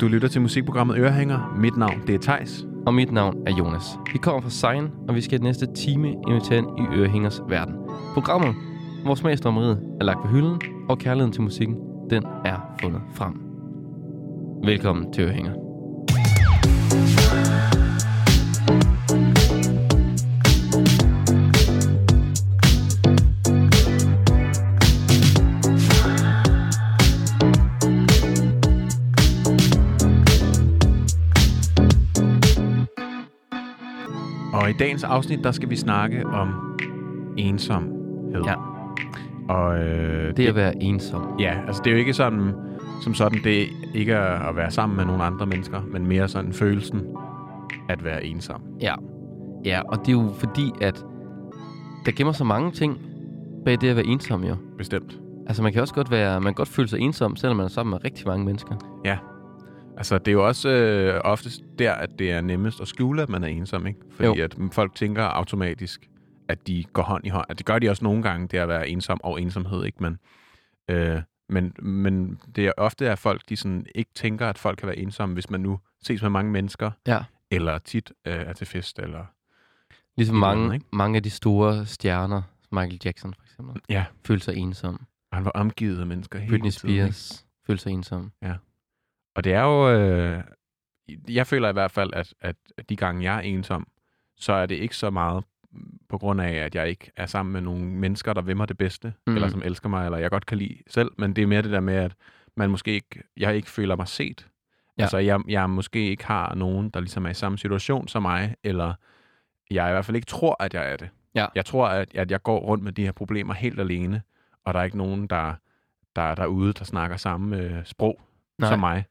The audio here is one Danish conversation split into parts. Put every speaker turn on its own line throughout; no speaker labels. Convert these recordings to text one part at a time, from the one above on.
Du lytter til musikprogrammet Ørehænger. Mit navn, det er Tejs.
Og mit navn er Jonas. Vi kommer fra Sejen, og vi skal i den næste time invitere ind i Ørehængers verden. Programmet, hvor smagsdommeriet er lagt på hylden, og kærligheden til musikken, den er fundet frem. Velkommen til Ørehænger.
Og i dagens afsnit, der skal vi snakke om ensomhed.
Ja.
Og øh,
Det at være ensom.
Ja, altså det er jo ikke sådan, som sådan, det ikke er at være sammen med nogle andre mennesker, men mere sådan følelsen at være ensom.
Ja. Ja, og det er jo fordi, at der gemmer så mange ting bag det at være ensom, jo.
Bestemt.
Altså, man kan også godt være, man kan godt føle sig ensom, selvom man er sammen med rigtig mange mennesker.
Altså det er jo også øh, oftest der, at det er nemmest at skjule, at man er ensom, ikke? Fordi
Jo.
at folk tænker automatisk, at de går hånd i hånd. At det gør de også nogle gange, det at være ensom og ensomhed, ikke? Men, øh, men, men det er ofte, at folk de sådan, ikke tænker, at folk kan være ensomme, hvis man nu ses med mange mennesker,
Ja.
eller tit øh, er til fest, eller
Ligesom
Et eller
mange,
andet,
ikke? mange af de store stjerner, Michael Jackson for eksempel,
Ja.
følte sig ensom.
han var omgivet af mennesker hele
Britney
tiden. ikke?
Spears følte sig ensom.
Og det er jo... Øh, jeg føler i hvert fald, at, at de gange, jeg er ensom, så er det ikke så meget på grund af, at jeg ikke er sammen med nogle mennesker, der vil mig det bedste,
Mm.
mm. eller som elsker mig, eller jeg godt kan lide selv, men det er mere det der med, at man måske ikke, jeg ikke føler mig set.
Ja.
Ja. Altså, jeg, jeg måske ikke har nogen, der ligesom er i samme situation som mig, eller jeg i hvert fald ikke tror, at jeg er det.
Ja.
Jeg tror, at, at jeg går rundt med de her problemer helt alene, og der er ikke nogen, der, der er derude, der snakker samme øh, sprog
Nej.
Nej. som mig.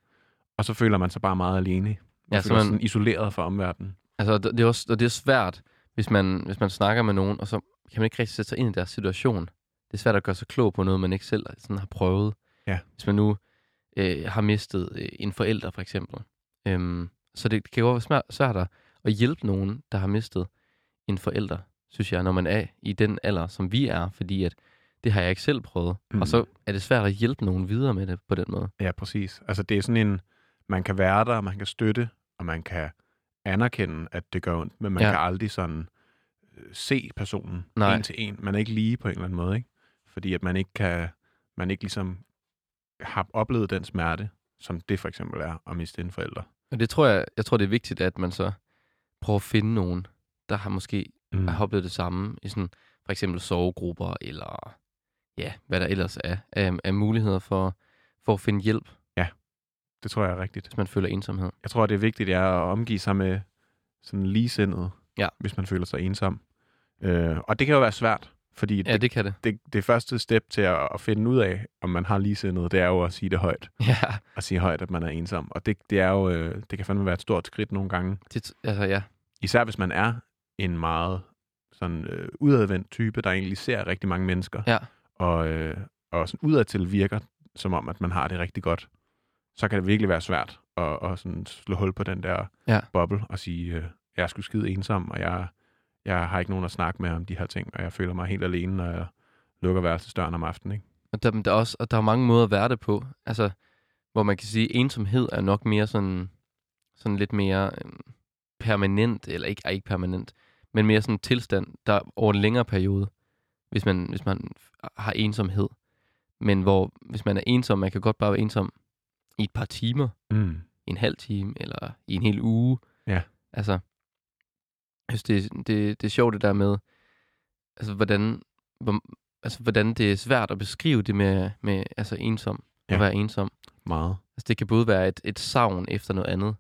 Og så føler man sig bare meget alene. Man
Ja,
ja,
så
føler
man-
sig sådan isoleret fra omverdenen.
Altså, det det er, også, og det er svært, hvis man, hvis man snakker med nogen, og så kan man ikke rigtig sætte sig ind i deres situation. Det er svært at gøre sig klog på noget, man ikke selv sådan har prøvet.
Ja.
Hvis man nu øh, har mistet øh, en forælder, for eksempel. Øhm, så det, det kan jo være svært, svært at, at hjælpe nogen, der har mistet en forælder, synes jeg, når man er i den alder, som vi er, fordi at det har jeg ikke selv prøvet. Mm.
Mm.
Og så er det svært at hjælpe nogen videre med det på den måde.
Ja, præcis. Altså det er sådan en, man kan være der, og man kan støtte, og man kan anerkende, at det gør ondt, men man
Ja.
ja. kan aldrig sådan øh, se personen
Nej.
en til en. Man er ikke lige på en eller anden måde, ikke? Fordi at man ikke kan, man ikke ligesom har oplevet den smerte, som det for eksempel er at miste en forælder.
Og det tror jeg, jeg tror, det er vigtigt, at man så prøver at finde nogen, der har måske
Mm.
har oplevet det samme i sådan for eksempel sovegrupper eller ja, hvad der ellers er af, af muligheder for, for at finde hjælp,
Det tror jeg er rigtigt.
hvis man føler ensomhed.
jeg tror, det er vigtigt er at omgive sig med sådan ligesindede,
Ja.
hvis man føler sig ensom. Øh, og det kan jo være svært, fordi ja,
Ja,
det,
det kan det.
det, det første step til at, at finde ud af, om man har ligesindede, det er jo at sige det højt.
Ja,
At sige højt, at man er ensom. Og det, det, er jo, øh, det kan fandme være et stort skridt nogle gange.
det, altså ja.
Især hvis man er en meget sådan øh, udadvendt type, der egentlig ser rigtig mange mennesker.
Ja.
Og, øh, og sådan udadtil virker, som om, at man har det rigtig godt. Så kan det virkelig være svært at, at sådan slå hul på den der
Ja.
boble og sige, øh, jeg er sgu skide ensom, og jeg, jeg har ikke nogen at snakke med om de her ting, og jeg føler mig helt alene, når jeg lukker værelsesdøren om aftenen. Ikke?
Og der, men der, er også, og der er mange måder at være det på. Altså, hvor man kan sige, at ensomhed er nok mere sådan, sådan lidt mere øhm, permanent, eller ikke, er ikke permanent, men mere sådan en tilstand, der over en længere periode, hvis man, hvis man har ensomhed. Men hvor, hvis man er ensom, man kan godt bare være ensom i et par timer,
Mm.
en halv time, eller i en hel uge.
Ja.
Altså, jeg synes, det, det, det er sjovt det der med, altså hvordan, hvor, altså, hvordan det er svært at beskrive det med, med altså ensom, ja.
Ja.
at være ensom.
Meget.
Altså det kan både være et, et savn efter noget andet,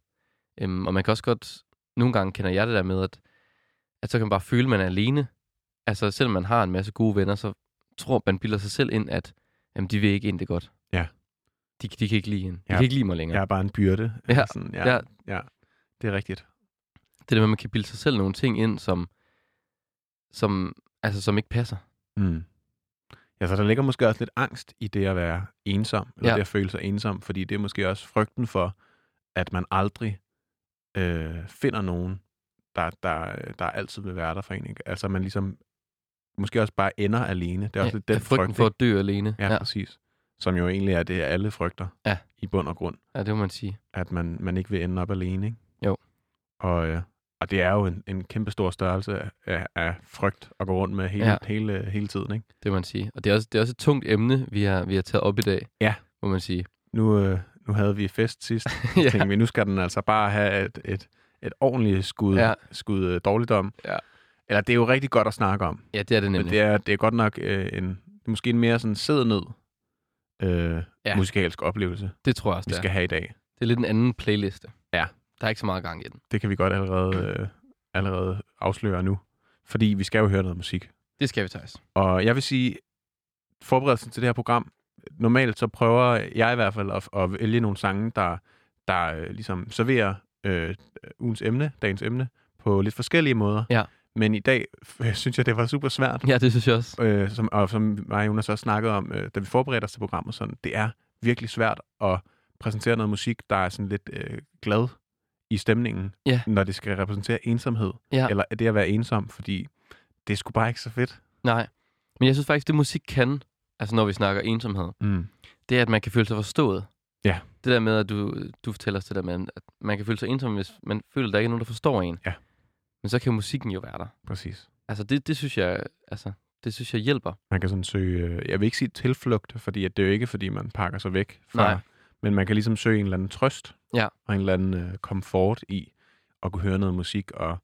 øhm, og man kan også godt, nogle gange kender jeg det der med, at, at så kan man bare føle, at man er alene. Altså selvom man har en masse gode venner, så tror man, bilder sig selv ind, at jamen, de vil ikke ind det godt.
Ja.
De, de kan ikke lide en. De
Ja.
kan ikke lide mig længere.
Jeg er bare en byrde. Altså
Ja.
Sådan,
Ja.
Det er rigtigt.
det der med, at man kan bilde sig selv nogle ting ind, som, som, altså, som ikke passer.
Mm. Ja, så der ligger måske også lidt angst i det at være ensom, eller
Ja.
ja. det at føle sig ensom, fordi det er måske også frygten for, at man aldrig øh, finder nogen, der, der, der altid vil være der for en. Ikke? Altså man ligesom måske også bare ender alene. Det er også ja, lidt den
frygten
frygt.
for
ikke?
at dø alene.
ja, ja, præcis. som jo egentlig er det, alle frygter
Ja.
i bund og grund,
Ja, det må man sige.
at man, man ikke vil ende op alene. Ikke?
Jo.
Og, øh, og det er jo en, en kæmpe stor størrelse af, af frygt at gå rundt med hele,
Ja.
ja. hele, hele tiden. Ikke?
Det må man sige. Og det er også, det er også et tungt emne, vi har, vi har taget op i dag.
Ja.
Må man sige.
Nu, øh, nu havde vi fest sidst, ja.
ja.
tænkte vi, nu skal den altså bare have et, et, et ordentligt skud,
Ja.
ja. skud øh, dårligdom.
Ja.
Eller det er jo rigtig godt at snakke om,
ja, det er det
men
nemlig.
det er, det er godt nok øh, en, måske en mere sådan sid ned øh,
Ja.
ja. musikalsk oplevelse,
Det tror jeg også,
vi
det
skal
er.
have i dag.
Det er lidt en anden playliste.
Ja.
Der er ikke så meget gang i den.
Det kan vi godt allerede, øh, allerede afsløre nu, fordi vi skal jo høre noget musik.
Det skal vi, Thijs.
Og jeg vil sige, forberedelsen til det her program, normalt så prøver jeg i hvert fald at, at vælge nogle sange, der, der øh, ligesom serverer øh, ugens emne, dagens emne, på lidt forskellige måder.
Ja.
Men i dag øh, synes jeg, det var super svært,
Ja, det synes jeg også.
øh, som, og som mig og Jonas også snakkede om, øh, da vi forberedte os til programmet, sådan, det er virkelig svært at præsentere noget musik, der er sådan lidt øh, glad i stemningen,
Ja.
når det skal repræsentere ensomhed,
Ja.
eller det at være ensom, fordi det er sgu bare ikke så fedt.
Nej. Men jeg synes faktisk, det musik kan, altså når vi snakker ensomhed,
Mm.
det er, at man kan føle sig forstået.
Ja.
Det der med, at du, du fortæller os det der med, at man kan føle sig ensom, hvis man føler, at der ikke er nogen, der forstår en.
Ja.
Men så kan musikken jo være der.
Præcis.
Altså, det, det synes jeg, altså, det synes jeg hjælper.
Man kan sådan søge, øh, jeg vil ikke sige tilflugt, fordi at det er jo ikke, fordi man pakker sig væk fra,
Nej.
men man kan ligesom søge en eller anden trøst
Ja.
og en eller anden øh, komfort i at kunne høre noget musik og,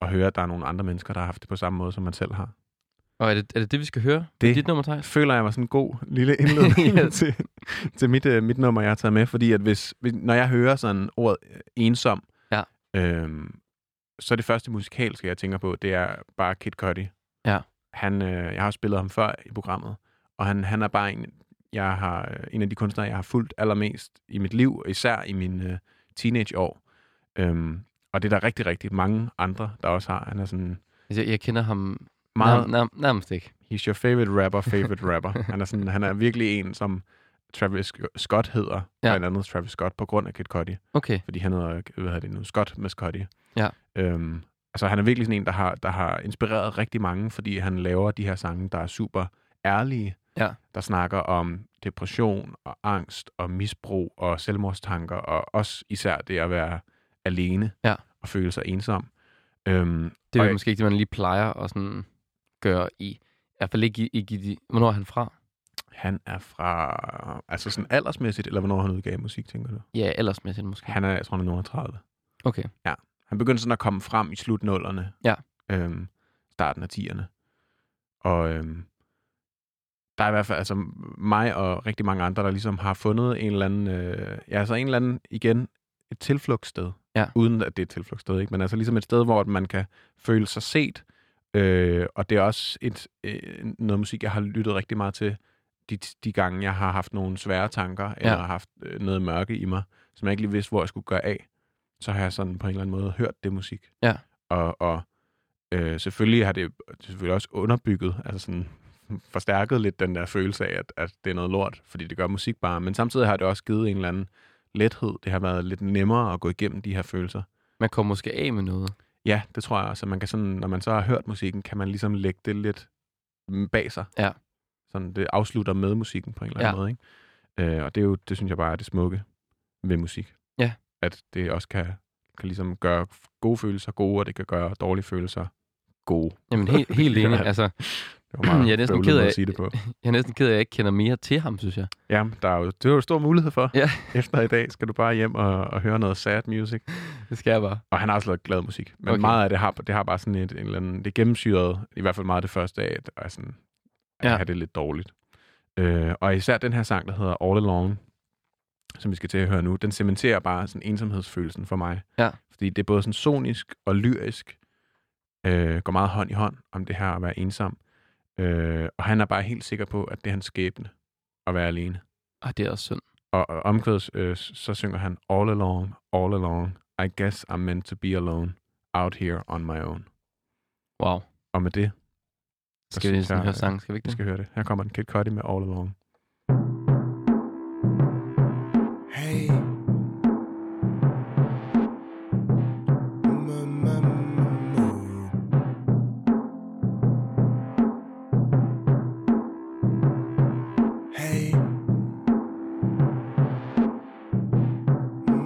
og høre, at der er nogle andre mennesker, der har haft det på samme måde, som man selv har.
Og er det er det, det vi skal høre?
Det-
Dit nummer, Thijs?
Føler jeg var sådan en god lille indledning
Ja.
yes. til, til mit, øh, mit nummer, jeg har taget med, fordi at hvis, hvis- når jeg hører sådan ordet øh, ensom,
Ja.
øhm, så er det første musikalske, jeg tænker på, det er bare Kid Cudi.
Ja.
Han, øh, jeg har jo spillet ham før i programmet, og han, han er bare en, jeg har, øh, en af de kunstnere, jeg har fulgt allermest i mit liv, og især i mine øh, teenageår. Øhm, og det er der rigtig, rigtig mange andre, der også har. Han er sådan
Altså, jeg, jeg kender ham
meget,
Nam, nam, nærmest ikke.
He's your favorite rapper, favorite rapper. Han er, sådan, han er virkelig en, som Travis Scott hedder.
Ja.
Ja. Blandt andet Travis Scott på grund af Kid Cudi.
Okay,
Fordi han hedder, hvad hedder det nu, Scott med Scotty.
Ja.
Øhm, altså han er virkelig sådan en, der har, der har inspireret rigtig mange, fordi han laver de her sange, der er super ærlige.
Ja.
Der snakker om depression og angst og misbrug og selvmordstanker og også især det at være alene
Ja.
og føle sig ensom. Øhm,
det er
Og
jo
jeg-
måske ikke det, man lige plejer at sådan gøre i. I hvert fald ikke i, ikke i de... Hvornår er han fra?
Han er fra... Altså sådan aldersmæssigt, eller hvornår han udgav musik, tænker du?
Ja, aldersmæssigt måske.
Han er, jeg tror, han er nogen 30.
Okay.
Han begyndte sådan at komme frem i slutnullerne.
Ja.
Øhm, starten af 10'erne. Og øhm, der er i hvert fald altså mig og rigtig mange andre, der ligesom har fundet en eller anden... Øh, ja, altså en eller anden, igen, et tilflugtssted.
Ja.
Uden at det er et tilflugtssted, ikke? Men altså ligesom et sted, hvor man kan føle sig set. Øh, og det er også et, øh, noget musik, jeg har lyttet rigtig meget til de, de gange, jeg har haft nogle svære tanker, eller har haft øh, noget mørke i mig, som jeg ikke lige vidste, hvor jeg skulle gøre af så har jeg sådan på en eller anden måde hørt det musik.
Ja.
Og, og øh, selvfølgelig har det selvfølgelig også underbygget, altså sådan forstærket lidt den der følelse af, at, at det er noget lort, fordi det gør musik bare. Men samtidig har det også givet en eller anden lethed. Det har været lidt nemmere at gå igennem de her følelser.
Man kommer måske af med noget.
Ja, det tror jeg også. at Man kan sådan, når man så har hørt musikken, kan man ligesom lægge det lidt mm, bag sig.
Ja.
Sådan, det afslutter med musikken på en eller anden
Ja.
måde. Ikke? Øh, og det, er jo, det synes jeg bare er det smukke ved musik.
Ja.
At det også kan, kan ligesom gøre gode følelser gode, og det kan gøre dårlige følelser gode.
Jamen, helt, helt enig.
Ja.
Altså,
Det var meget
Jeg er næsten
bøvlet
ked
måde
af-
at sige det på.
jeg er næsten ked af, at jeg ikke kender mere til ham, synes jeg.
Ja, der er jo, det er jo stor mulighed for.
Ja.
Efter i dag skal du bare hjem og, og høre noget sad music.
Det skal jeg bare.
Og han har også lavet glad musik. Men
Okay.
okay. meget af det har, det har bare sådan et, en eller anden, det er gennemsyret, i hvert fald meget det første af, at, er sådan, at
Ja.
ja. have det lidt dårligt. Øh, og især den her sang, der hedder All Along, som vi skal til at høre nu, den cementerer bare sådan ensomhedsfølelsen for mig.
Ja.
Fordi det er både sådan sonisk og lyrisk, øh, går meget hånd i hånd om det her at være ensom. Øh, og han er bare helt sikker på, at det er hans skæbne at være alene.
Og det er også synd.
Og, og omkvædet, øh, så synger han All along, all along, I guess I'm meant to be alone, out here on my own.
Wow.
Og med det,
Skal vi
synes
næsten
jeg,
høre
øh,
sangen? Skal vi ikke
vi
det?
skal høre det. Her kommer den Kid Cudi med All along.
Hey. Mm, Mamamoo. Hey. Mm,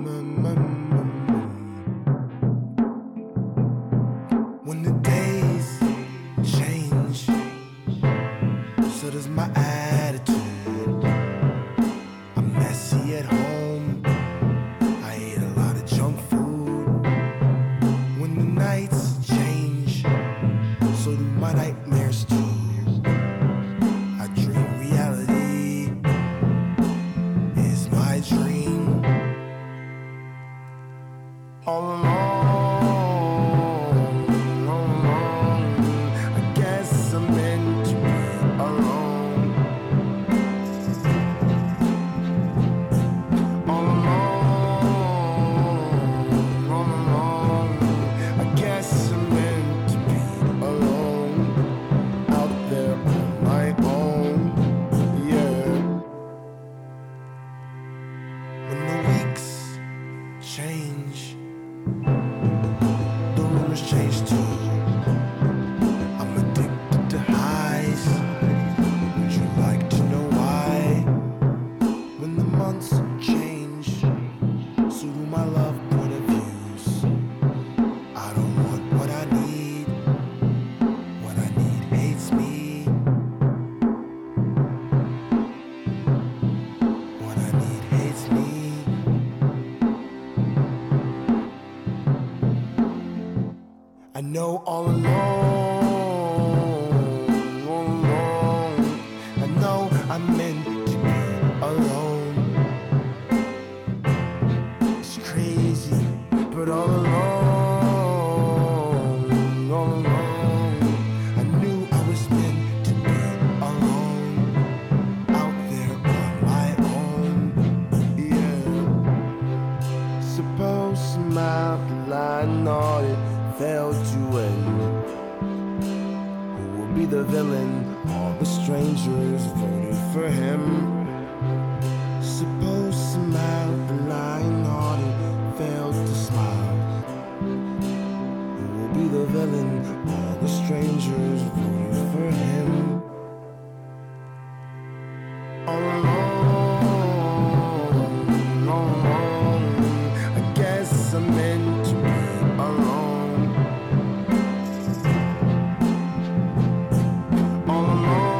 change. The rumors change too. I'm addicted to highs. Would you like to know why? When the months change, so do my love point of views. I don't want what I need. What I need hates me. What I need hates me. I know all alone, all alone. I know I'm meant to be alone. It's crazy, but all alone, all alone. I knew I was meant to be alone, out there on my own. Yeah. Suppose my line on it failed to end. Who will be the villain? All the strangers voted for him. Suppose my line on it failed to smile. Who will be the villain? All the strangers voted for him. Alone, alone. I guess I'm meant to be alone. All alone,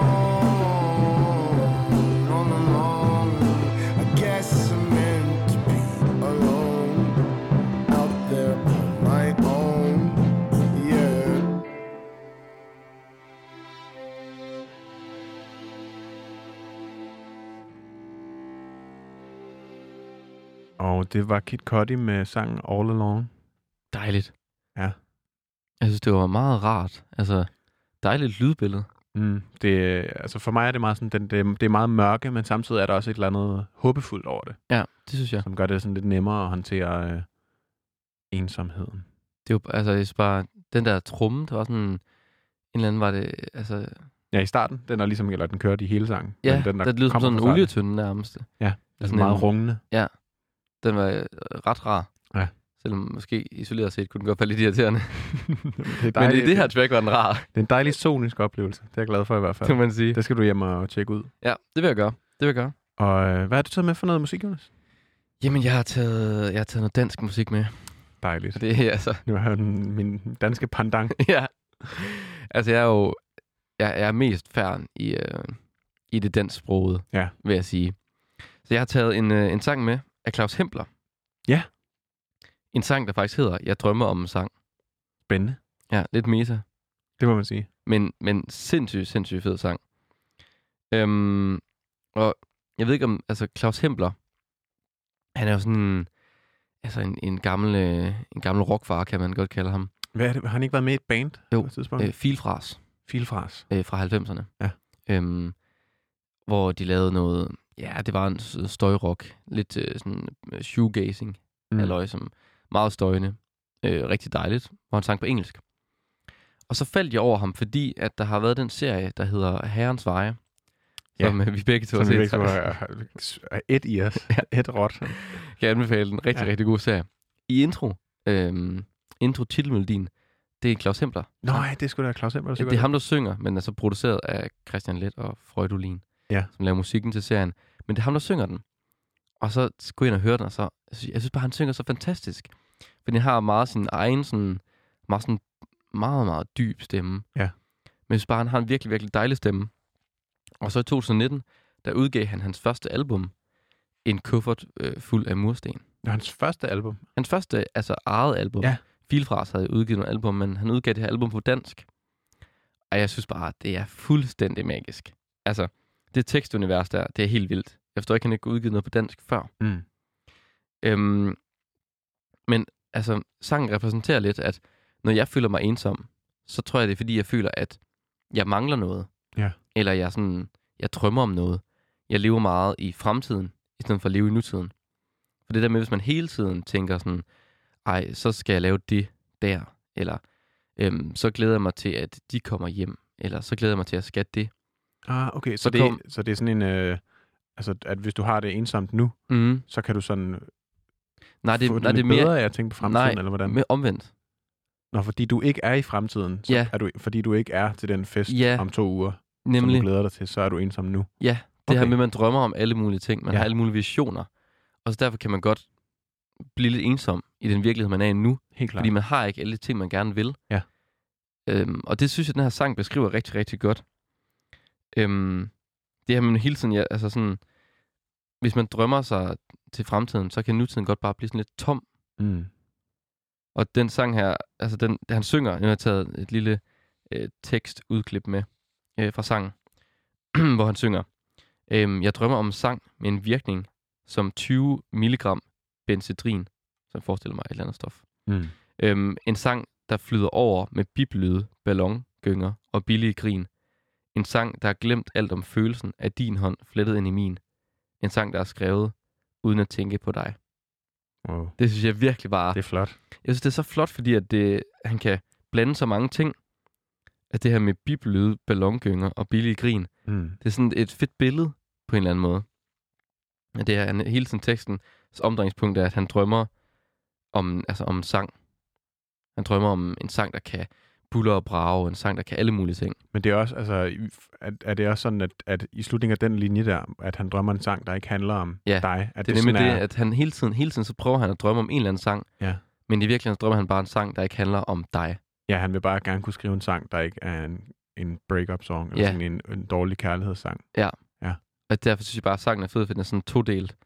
all alone. I guess I'm meant to be alone. Out there on my own, yeah.
Og det var Kid Cudi med sangen All Along.
Dejligt.
Ja.
Jeg synes, det var meget rart. Altså, dejligt lydbillede.
Mm, det, altså for mig er det meget, sådan, den, det, det er meget mørke, men samtidig er der også et eller andet håbefuldt over det,
Ja, det synes jeg.
som gør det sådan lidt nemmere at håndtere øh, ensomheden.
Det var, altså, jeg synes bare, den der tromme, der var sådan, en eller anden var det, altså,
Ja, i starten, den er ligesom, eller den kørte i hele sangen.
ja,
men den,
den, der, lyder som
kommer
sådan en
fra starten,
olietønde nærmest.
Det er
sådan
sådan meget
en-
rungende.
Den var øh, ret rar.
Ja.
Selvom måske isoleret set kunne den godt være lidt irriterende.
det er
Men
dejligt.
i det her track var den rar,
Det er en dejlig sonisk oplevelse. Det er jeg glad for i hvert
kan
fald.
man sige.
Det skal du hjem og tjekke ud.
Ja, det vil jeg gøre. Det vil jeg gøre.
Og øh, hvad har du taget med for noget musik, Jonas?
Jamen, jeg har taget, jeg har taget noget dansk musik med.
Dejligt.
Og Det er altså...
Nu har jeg den- min danske pandang.
ja. Altså, jeg er jo... Jeg, jeg er mest færden i, øh, i det dansksprogede,
Ja.
vil jeg sige. Så jeg har taget en, øh, en sang med af Claus Hempler.
Ja.
En sang, der faktisk hedder Jeg drømmer om en sang.
Spændende.
Ja, lidt meta.
Det må man sige.
Men, men sindssygt, sindssygt fed sang. Øhm, og jeg ved ikke om, altså Claus Hempler, han er jo sådan en, altså en, en gammel, øh, en gammel rockfar, kan man godt kalde ham.
Hvad er det? Har han ikke været med i et band
Jo,
på et tidspunkt?
Øh, Filfras.
Filfras.
øh, fra 90'erne.
Ja.
Øhm, hvor de lavede noget, ja, det var en s- støjrock, lidt øh, sådan øh, shoegazing,
Mm.
mm. halløj, som meget støjende, øh, rigtig dejligt, hvor han sang på engelsk. Og så faldt jeg over ham, fordi at der har været den serie, der hedder Herrens Veje,
Ja.
ja. som øh, vi begge to
Som
har
vi
set.
begge to har- har- et i os. Et råt.
kan jeg anbefale den. Rigtig,
Ja.
ja. rigtig god serie. I intro, øhm, intro titelmelodien, det er Claus Hempler.
Nej, det skulle da Claus Hemmer, der
Ja,
synger
det er ham, der synger, men altså produceret af Christian Let og Freudolin,
Ja.
som laver musikken til serien. Men det er ham, der synger den. Og så skulle jeg ind og høre den, og så, jeg synes, jeg synes bare, han synger så fantastisk. For han har meget sin egen, sådan, meget, sådan, meget, meget dyb stemme.
Ja.
Men jeg synes bare, han har en virkelig, virkelig dejlig stemme. Og så i 2019, der udgav han hans første album, En kuffert øh, fuld af mursten.
Det er hans første album.
Hans første, altså eget album.
Ja.
Filfras havde udgivet nogle album, men han udgav det her album på dansk. Og jeg synes bare, det er fuldstændig magisk. Altså, det tekstunivers der, det er helt vildt. Jeg forstår ikke, han ikke har udgivet noget på dansk før.
Mm.
Øhm, men altså, sangen repræsenterer lidt, at når jeg føler mig ensom, så tror jeg, det er fordi, jeg føler, at jeg mangler noget.
Ja.
Eller jeg, er sådan, jeg drømmer om noget. Jeg lever meget i fremtiden, i stedet for at leve i nutiden. For det der med, hvis man hele tiden tænker sådan, ej, så skal jeg lave det der, eller øhm, så glæder jeg mig til, at de kommer hjem, eller så glæder jeg mig til, at jeg skal det.
Ah, okay. Så,
Så
det,
kom-
så det er sådan en... Øh, altså, at hvis du har det ensomt nu,
Mm.
så kan du sådan
Nej, det,
Få
nej, det
lidt
er mere
bedre af at tænke på fremtiden,
Nej,
eller hvordan?
med omvendt.
Nå, fordi du ikke er i fremtiden, så
Ja.
er du, fordi du ikke er til den fest
Ja.
om to uger,
Nemlig
som du glæder dig til, så er du ensom nu.
Ja, det okay. her
Okay.
med, at man drømmer om alle mulige ting. Man
Ja.
ja. har alle mulige visioner. Og så derfor kan man godt blive lidt ensom i den virkelighed, man er i nu.
Helt klart.
Fordi man har ikke alle de ting, man gerne vil.
Ja.
Øhm, og det synes jeg, den her sang beskriver rigtig, rigtig godt. Øhm, det her med hele tiden, ja, altså sådan, hvis man drømmer sig til fremtiden, så kan nutiden godt bare blive sådan lidt tom.
Mm.
Og den sang her, altså den, den han synger, nu har jeg taget et lille øh, tekstudklip med øh, fra sangen, hvor han synger. Øhm, jeg drømmer om en sang med en virkning som 20 milligram benzedrin, som forestiller mig et eller andet stof.
Mm.
Øhm, en sang, der flyder over med biblyde, ballongynger og billige grin. En sang, der har glemt alt om følelsen af din hånd flettet ind i min. En sang, der er skrevet uden at tænke på dig.
Wow.
Det synes jeg virkelig var...
Det er flot.
Jeg synes, det er så flot, fordi at det, han kan blande så mange ting. At det her med bibelyde, ballongynger og billige grin,
Mm.
det er sådan et fedt billede på en eller anden måde. At det er han, hele tiden tekstens omdrejningspunkt er, at han drømmer om, altså om en sang. Han drømmer om en sang, der kan buller og brage, en sang, der kan alle mulige ting.
Men det er også, altså, i- er, er det også sådan, at, at i slutningen af den linje der, at han drømmer en sang, der ikke handler om
Ja,
dig? At
Det er nemlig
sådan
det, at han hele tiden, hele tiden så prøver han at drømme om en eller anden sang,
Ja.
men i virkeligheden så drømmer han bare en sang, der ikke handler om dig.
Ja, han vil bare gerne kunne skrive en sang, der ikke er en, en break-up song, eller
Ja.
sådan en, en dårlig kærlighedssang.
Og derfor synes jeg bare, at sangen er fed, for den er sådan todelt.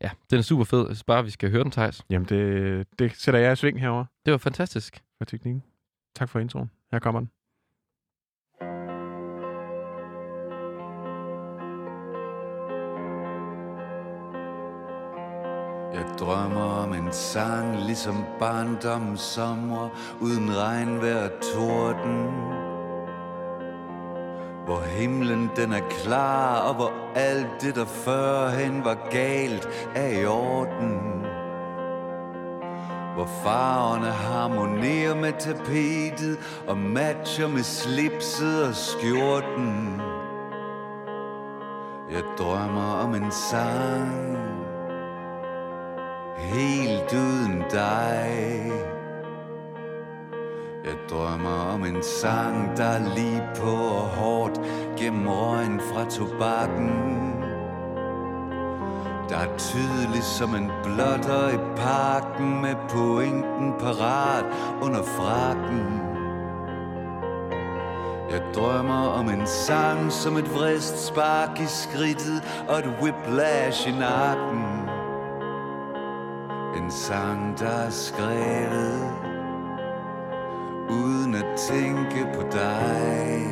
Ja, den er super fed. Jeg synes bare, vi skal høre den, Thijs.
Jamen, det, det sætter jeg i sving herover
Det var fantastisk.
for teknikken. Tak for introen. Her kommer den.
Jeg drømmer om en sang, ligesom barndommens sommer, uden regnvejr og torden. Hvor himlen den er klar, og hvor alt det, der førhen var galt, er i orden. Hvor farverne harmonerer med tapetet og matcher med slipset og skjorten. Jeg drømmer om en sang, helt uden dig. Jeg drømmer om en sang, der er lige på og hårdt gennem røgen fra tobakken. Der er tydelig som en blotter i parken med pointen parat under frakken. Jeg drømmer om en sang som et vrist spark i skridtet og et whiplash i nakken. En sang, der er skrevet Uden at tænke på dig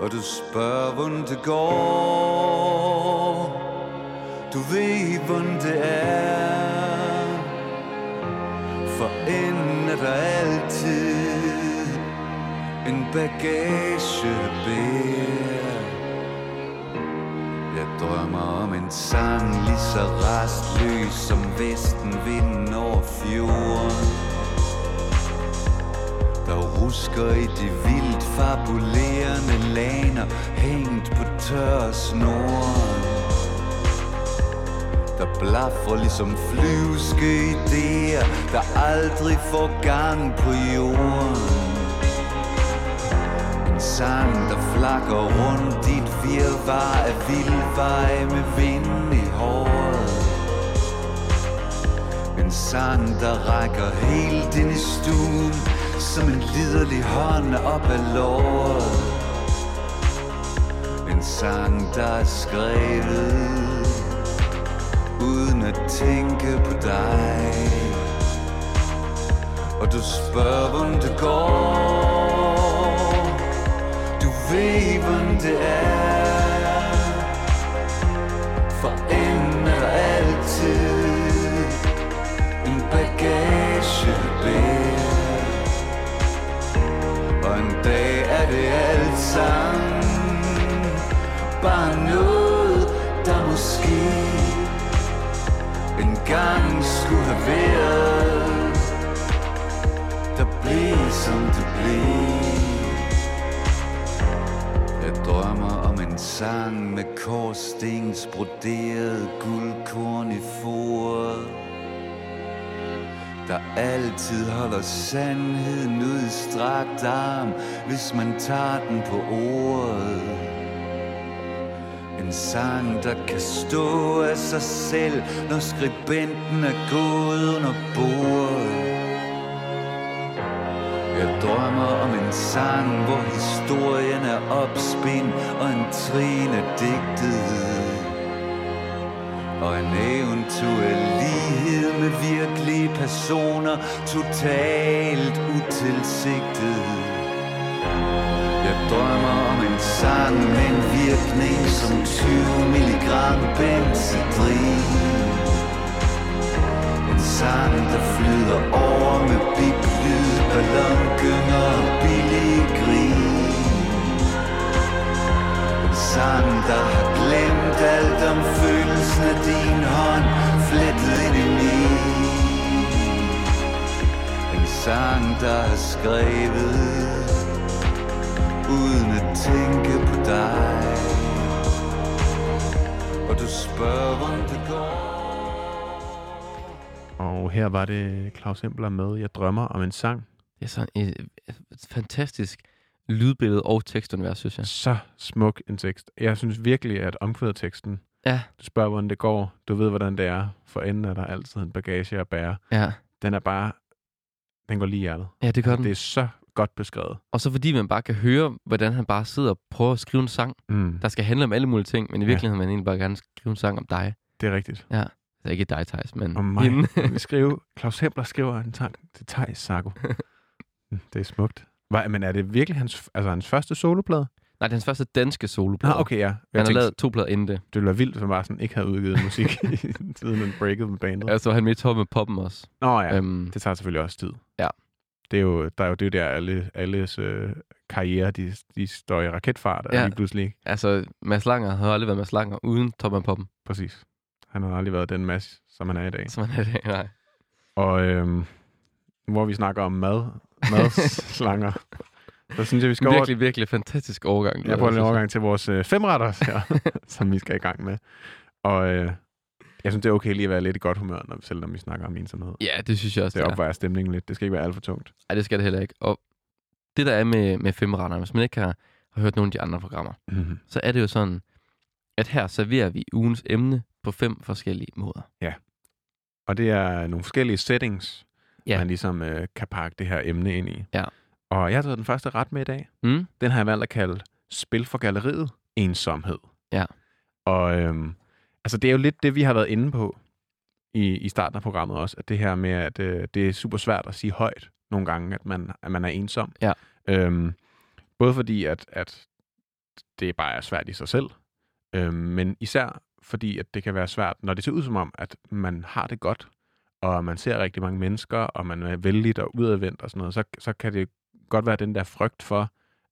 Og du spørger, hvordan det går Du ved, hvordan det er For enden er der altid En bagage, der bærer jeg drømmer om en sang lige så restløs som vesten vinden over fjorden Der rusker i de vildt fabulerende laner hængt på tør snoren Der blaffer ligesom flyvske idéer der aldrig får gang på jorden en sang, der flakker rundt dit virvar af vildveje med vinden i håret. En sang, der rækker helt ind i stuen, som en liderlig hånd op ad låret. En sang, der er skrevet, uden at tænke på dig. Og du spørger, hvordan det går Du ved, hvordan det er For enden er der altid En bagage der bærer Og en dag er det alt sammen Bare noget, der måske Engang skulle have været der blev som det blev Jeg drømmer om en sang med korsstens broderede guldkorn i foret der altid holder sandheden udstrakt arm, hvis man tager den på ordet. En sang, der kan stå af sig selv, når skribenten er gået under bordet. Jeg drømmer om en sang, hvor historien er opspind og en trin er digtet. Og en eventuel lighed med virkelige personer, totalt utilsigtet. Jeg drømmer om en sang med en virkning som 20 milligram benzedrin. En sang, der flyder over med biblyd, ballongynger og billige grin. En sang, der har glemt alt om følelsen af din hånd, flettet ind i min. En sang, der er skrevet, uden at tænke på dig. Og du spørger, om det går.
Og her var det Claus Empler med Jeg drømmer om en sang.
Det er sådan et, et fantastisk lydbillede og tekstunivers, synes jeg.
Så smuk en tekst. Jeg synes virkelig, at omkvædet teksten,
Ja,
du spørger, hvordan det går, du ved, hvordan det er, for enden er der altid en bagage at bære.
ja.
Den er bare, den går lige i hjertet.
ja det gør den.
Det er så godt beskrevet.
Og så fordi man bare kan høre, hvordan han bare sidder og prøver at skrive en sang,
Mm.
der skal handle om alle mulige ting, men i
Ja.
virkeligheden vil han egentlig bare gerne skrive en sang om dig.
Det er rigtigt.
Altså ikke dig, Thijs, men
Om mig.
hende.
Vi skrive, Claus Hempler skriver en tank til Thijs Sarko. Mm, det er smukt. Hva, men er det virkelig hans, altså hans første soloplade?
Nej, det er hans første danske
Nå,
soloplade.
okay, ja. Jeg
Han har
tænkte,
lavet to plader inden det.
Det ville være vildt, hvis han bare sådan ikke havde udgivet musik i tiden, man breakede med bandet.
Altså, han er med i top med poppen også.
Nå ja,
Øhm,
det tager selvfølgelig også tid.
Ja.
Det er jo, der er jo det er jo der, alle, alles øh, karriere, de, de står i raketfart, og
Ja.
ja. lige pludselig ikke.
altså, Mads Langer har aldrig været Mads Langer uden top med poppen,
Præcis. Han har aldrig været den masse, som han er i dag.
som han er det. Nej.
Og øhm, hvor vi snakker om mad, madslanger, så synes jeg, vi skal over
Virkelig, virkelig fantastisk overgang. du
Jeg
lavede,
prøver en
synes
overgang til vores øh, femretter, her, som vi skal i gang med. Og øh, jeg synes, det er okay lige at være lidt i godt humør, når, selvom vi snakker om ensomhed.
Ja, det synes jeg også,
Det
det er.
opvejer stemningen lidt. Det skal ikke være alt for tungt.
Ej, det skal det heller ikke. Og det der er med, med femretterne, hvis man ikke har, har hørt nogen af de andre programmer,
Mm-hmm.
så er det jo sådan, at her serverer vi ugens emne på fem forskellige måder.
Og det er nogle forskellige settings,
Ja.
ja. man ligesom øh, kan pakke det her emne ind i.
Ja.
Og jeg har taget den første ret med i dag.
Mm?
Den har jeg valgt at kalde Spil for galleriet. Ensomhed.
Ja.
Og øhm, altså, det er jo lidt det, vi har været inde på i, i starten af programmet også, at det her med, at øh, det er super svært at sige højt nogle gange, at man, at man er ensom.
Ja.
Øhm, både fordi, at, at det bare er svært i sig selv, øhm, men især fordi, at det kan være svært, når det ser ud som om, at man har det godt, og man ser rigtig mange mennesker, og man er vældig og udadvendt og sådan noget, så, så kan det godt være den der frygt for,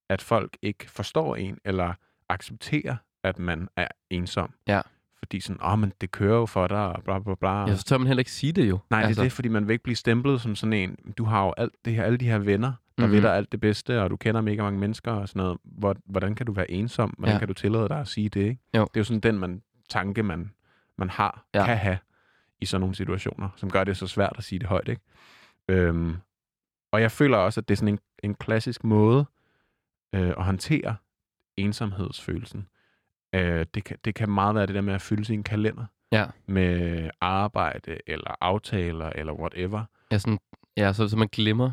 at folk ikke forstår en, eller accepterer, at man er ensom.
Ja.
Fordi sådan, åh, men det kører jo for dig, og bla bla bla.
Ja, så tør man heller ikke sige det jo.
Ah. Nej, altså. det er det, fordi man vil ikke blive stemplet som sådan en, du har jo alt det her, alle de her venner, der
Mhm.
mm-hmm. ved dig alt det bedste, og du kender mega mange mennesker og sådan noget. Hvor, hvordan kan du være ensom? Hvordan
Ja.
ja. kan du tillade dig at sige det? Ikke?
Jo.
Det er jo sådan den man, tanke, man, man har,
Ja.
ja. kan have i sådan nogle situationer, som gør det så svært at sige det højt. Ikke? Øhm, og jeg føler også, at det er sådan en, en klassisk måde øh, at håndtere ensomhedsfølelsen. Øh, det, kan, det kan meget være det der med at fylde sin kalender
Ja.
med arbejde eller aftaler eller whatever.
Ja, sådan, ja så, så man glemmer.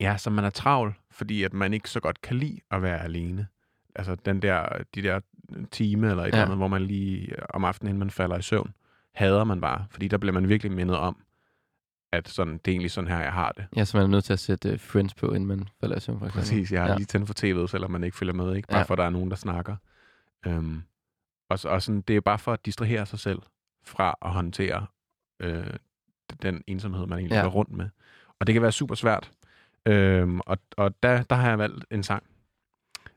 Ja, så man er travl, fordi at man ikke så godt kan lide at være alene. Altså den der, de der time eller et eller
Ja.
andet, hvor man lige øh, om aftenen, inden man falder i søvn, hader man bare, fordi der bliver man virkelig mindet om, at sådan, det er egentlig sådan her, jeg har det.
Ja, så man er nødt til at sætte uh, Friends på, inden man falder i søvn, for eksempel.
Præcis, jeg har
ja.
ja. lige tændt for tv'et, selvom man ikke følger med, ikke? bare
Ja.
ja. for der er nogen, der snakker. Øhm, og, så- og sådan, det er bare for at distrahere sig selv fra at håndtere øh, den ensomhed, man egentlig
Ja.
ja. går rundt med. Og det kan være super svært. Øhm, og og der, der har jeg valgt en sang,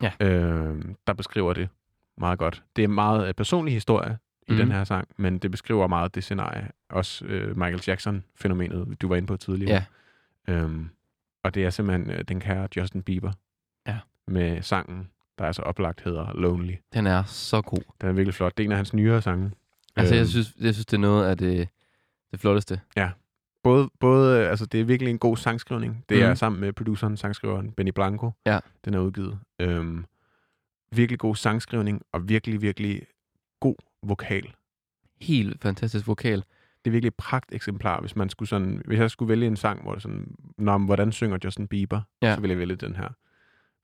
Ja.
øhm, der beskriver det meget godt. Det er en meget øh, personlig historie i
Mhm.
den her sang, men det beskriver meget det scenarie. Også øh, Michael Jackson-fænomenet, du var inde på tidligere.
Ja.
Øhm, og det er simpelthen øh, den kære Justin Bieber.
Ja.
Med sangen, der er så oplagt hedder Lonely.
Den er så god.
Den er virkelig flot. Det er en af hans nyere sange.
Altså,
Øhm,
jeg, synes, jeg synes, det er noget af det, det flotteste.
både, både, øh, altså det er virkelig en god sangskrivning. Det er
Mhm.
sammen med produceren, sangskriveren Benny Blanco.
Ja.
Den er udgivet. Øhm, virkelig god sangskrivning, og virkelig, virkelig god vokal.
Helt fantastisk vokal.
Det er virkelig et pragt eksemplar, hvis man skulle sådan, hvis jeg skulle vælge en sang, hvor det sådan, Nå, men hvordan synger Justin Bieber,
Ja.
så ville jeg vælge den her.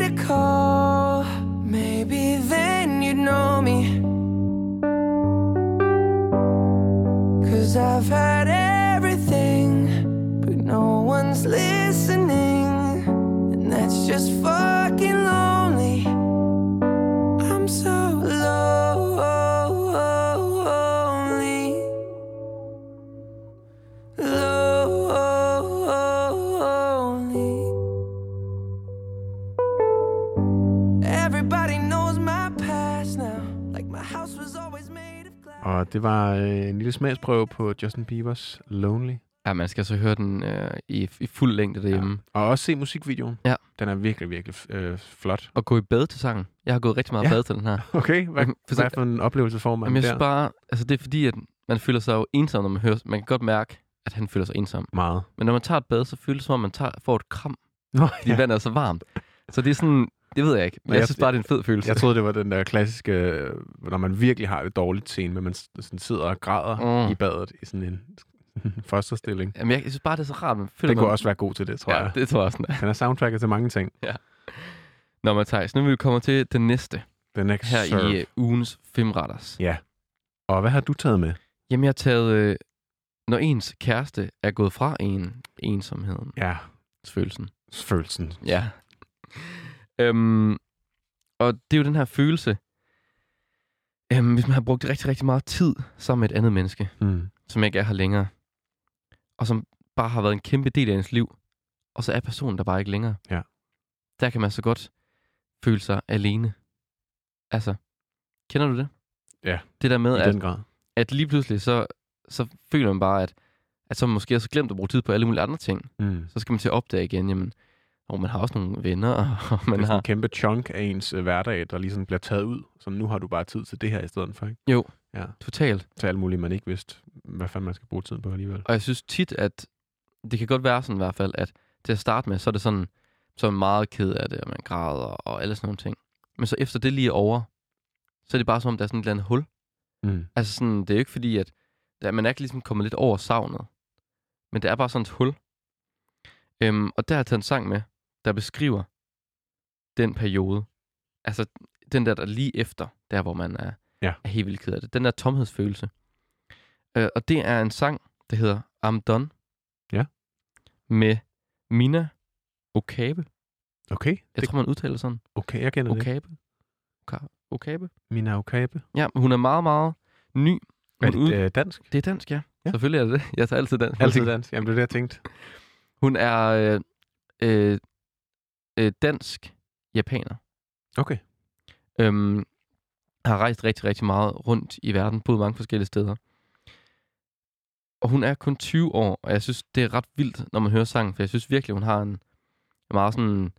to call? Maybe then you'd know me. Cause I've had everything, but no one's listening. And that's just fucking lonely. I'm so lonely lonely. Everybody knows my past now, like my house was always made of glass.
Og det var øh, en lille smagsprøve på Justin Biebers Lonely.
Ja, man skal så høre den øh, i, i fuld længde derhjemme. Ja.
Og også se musikvideoen.
Ja.
Den er virkelig, virkelig øh, flot.
Og gå i bad til sangen. Jeg har gået rigtig meget ja.
Ja.
bad til den her.
Okay, hvad,
Jamen,
for,
for så-
hvad for en oplevelse får man
Men jeg
der?
synes bare, altså det er fordi, at man føler sig jo ensom, når man hører. Man kan godt mærke, at han føler sig ensom.
Meget.
Men når man tager et bad, så føles det som om, man tager, får et kram,
Nå,
fordi ja. vandet er så varmt. Så det er sådan, det ved jeg ikke. Men
Nej,
jeg,
jeg-
synes bare, det er en fed følelse.
Jeg troede, det var den der klassiske, øh, når man virkelig har det dårligt scene, men man s- sådan sidder og græder
Mm.
i badet i sådan en fosterstilling.
Jamen, jeg, jeg synes bare, det er så rart. Man føler,
Den kunne
man,
også være god til det, tror
ja,
jeg.
det tror jeg også, den er.
Den er soundtracket til mange ting.
Nå, Mathias, nu vil vi komme til den næste
The Next
her
Serve.
i uh, ugens Filmretters.
Ja. Og hvad har du taget med?
Jamen, jeg har taget, øh, når ens kæreste er gået fra en, ensomheden,
Ja,
følelsen.
følelsen.
Ja. Øhm, og det er jo den her følelse, øhm, hvis man har brugt rigtig, rigtig meget tid sammen med et andet menneske,
Mm.
som ikke er her længere, og som bare har været en kæmpe del af ens liv, og så er personen der bare ikke længere.
Ja.
Der kan man så godt føle sig alene. Altså, kender du det?
Ja,
Det der med,
I
at,
den grad.
at lige pludselig, så, så føler man bare, at, at så har man måske også glemt at bruge tid på alle mulige andre ting
Mm.
så skal man til at opdage igen, jamen, og man har også nogle venner, og
Det
man
er sådan en
har...
kæmpe chunk af ens øh, hverdag, der ligesom bliver taget ud. Så nu har du bare tid til det her i stedet for, ikke?
Jo,
Ja.
totalt.
Til alt muligt, man ikke vidste, hvad fanden man skal bruge tiden på alligevel.
Og jeg synes tit, at det kan godt være sådan i hvert fald, at til at starte med, så er det sådan, så er man meget ked af det, og man græder, og alle sådan nogle ting. Men så efter det lige er over, så er det bare som om, der er sådan et eller andet hul.
Mm.
Altså sådan, det er jo ikke fordi, at der, man er ikke ligesom kommet lidt over savnet. Men det er bare sådan et hul. Øhm, og der har jeg taget en sang med, der beskriver den periode. Altså den der, der lige efter, der hvor man er,
Ja.
er helt vildt ked af det. Den der tomhedsfølelse. Øh, og det er en sang, der hedder I'm Done.
Ja.
Med Mina Okabe.
Okay,
Jeg
det,
tror, man udtaler sådan.
okay, jeg kender det.
Okabe. Oka- Okabe.
Mina Okabe.
Ja, hun er meget, meget ny. Hun
Er det
ud-
øh, dansk?
det er dansk, ja.
Ja.
ja. Selvfølgelig er det det. Jeg tager altid dansk.
Altid dansk. Jamen, det er det, jeg tænkte.
Hun er øh, øh, øh, dansk-japaner.
Okay.
Øhm, har rejst rigtig, rigtig meget rundt i verden, boet mange forskellige steder. Og hun er kun 20 år, og jeg synes, det er ret vildt, når man hører sangen, for jeg synes virkelig, hun har en meget sådan en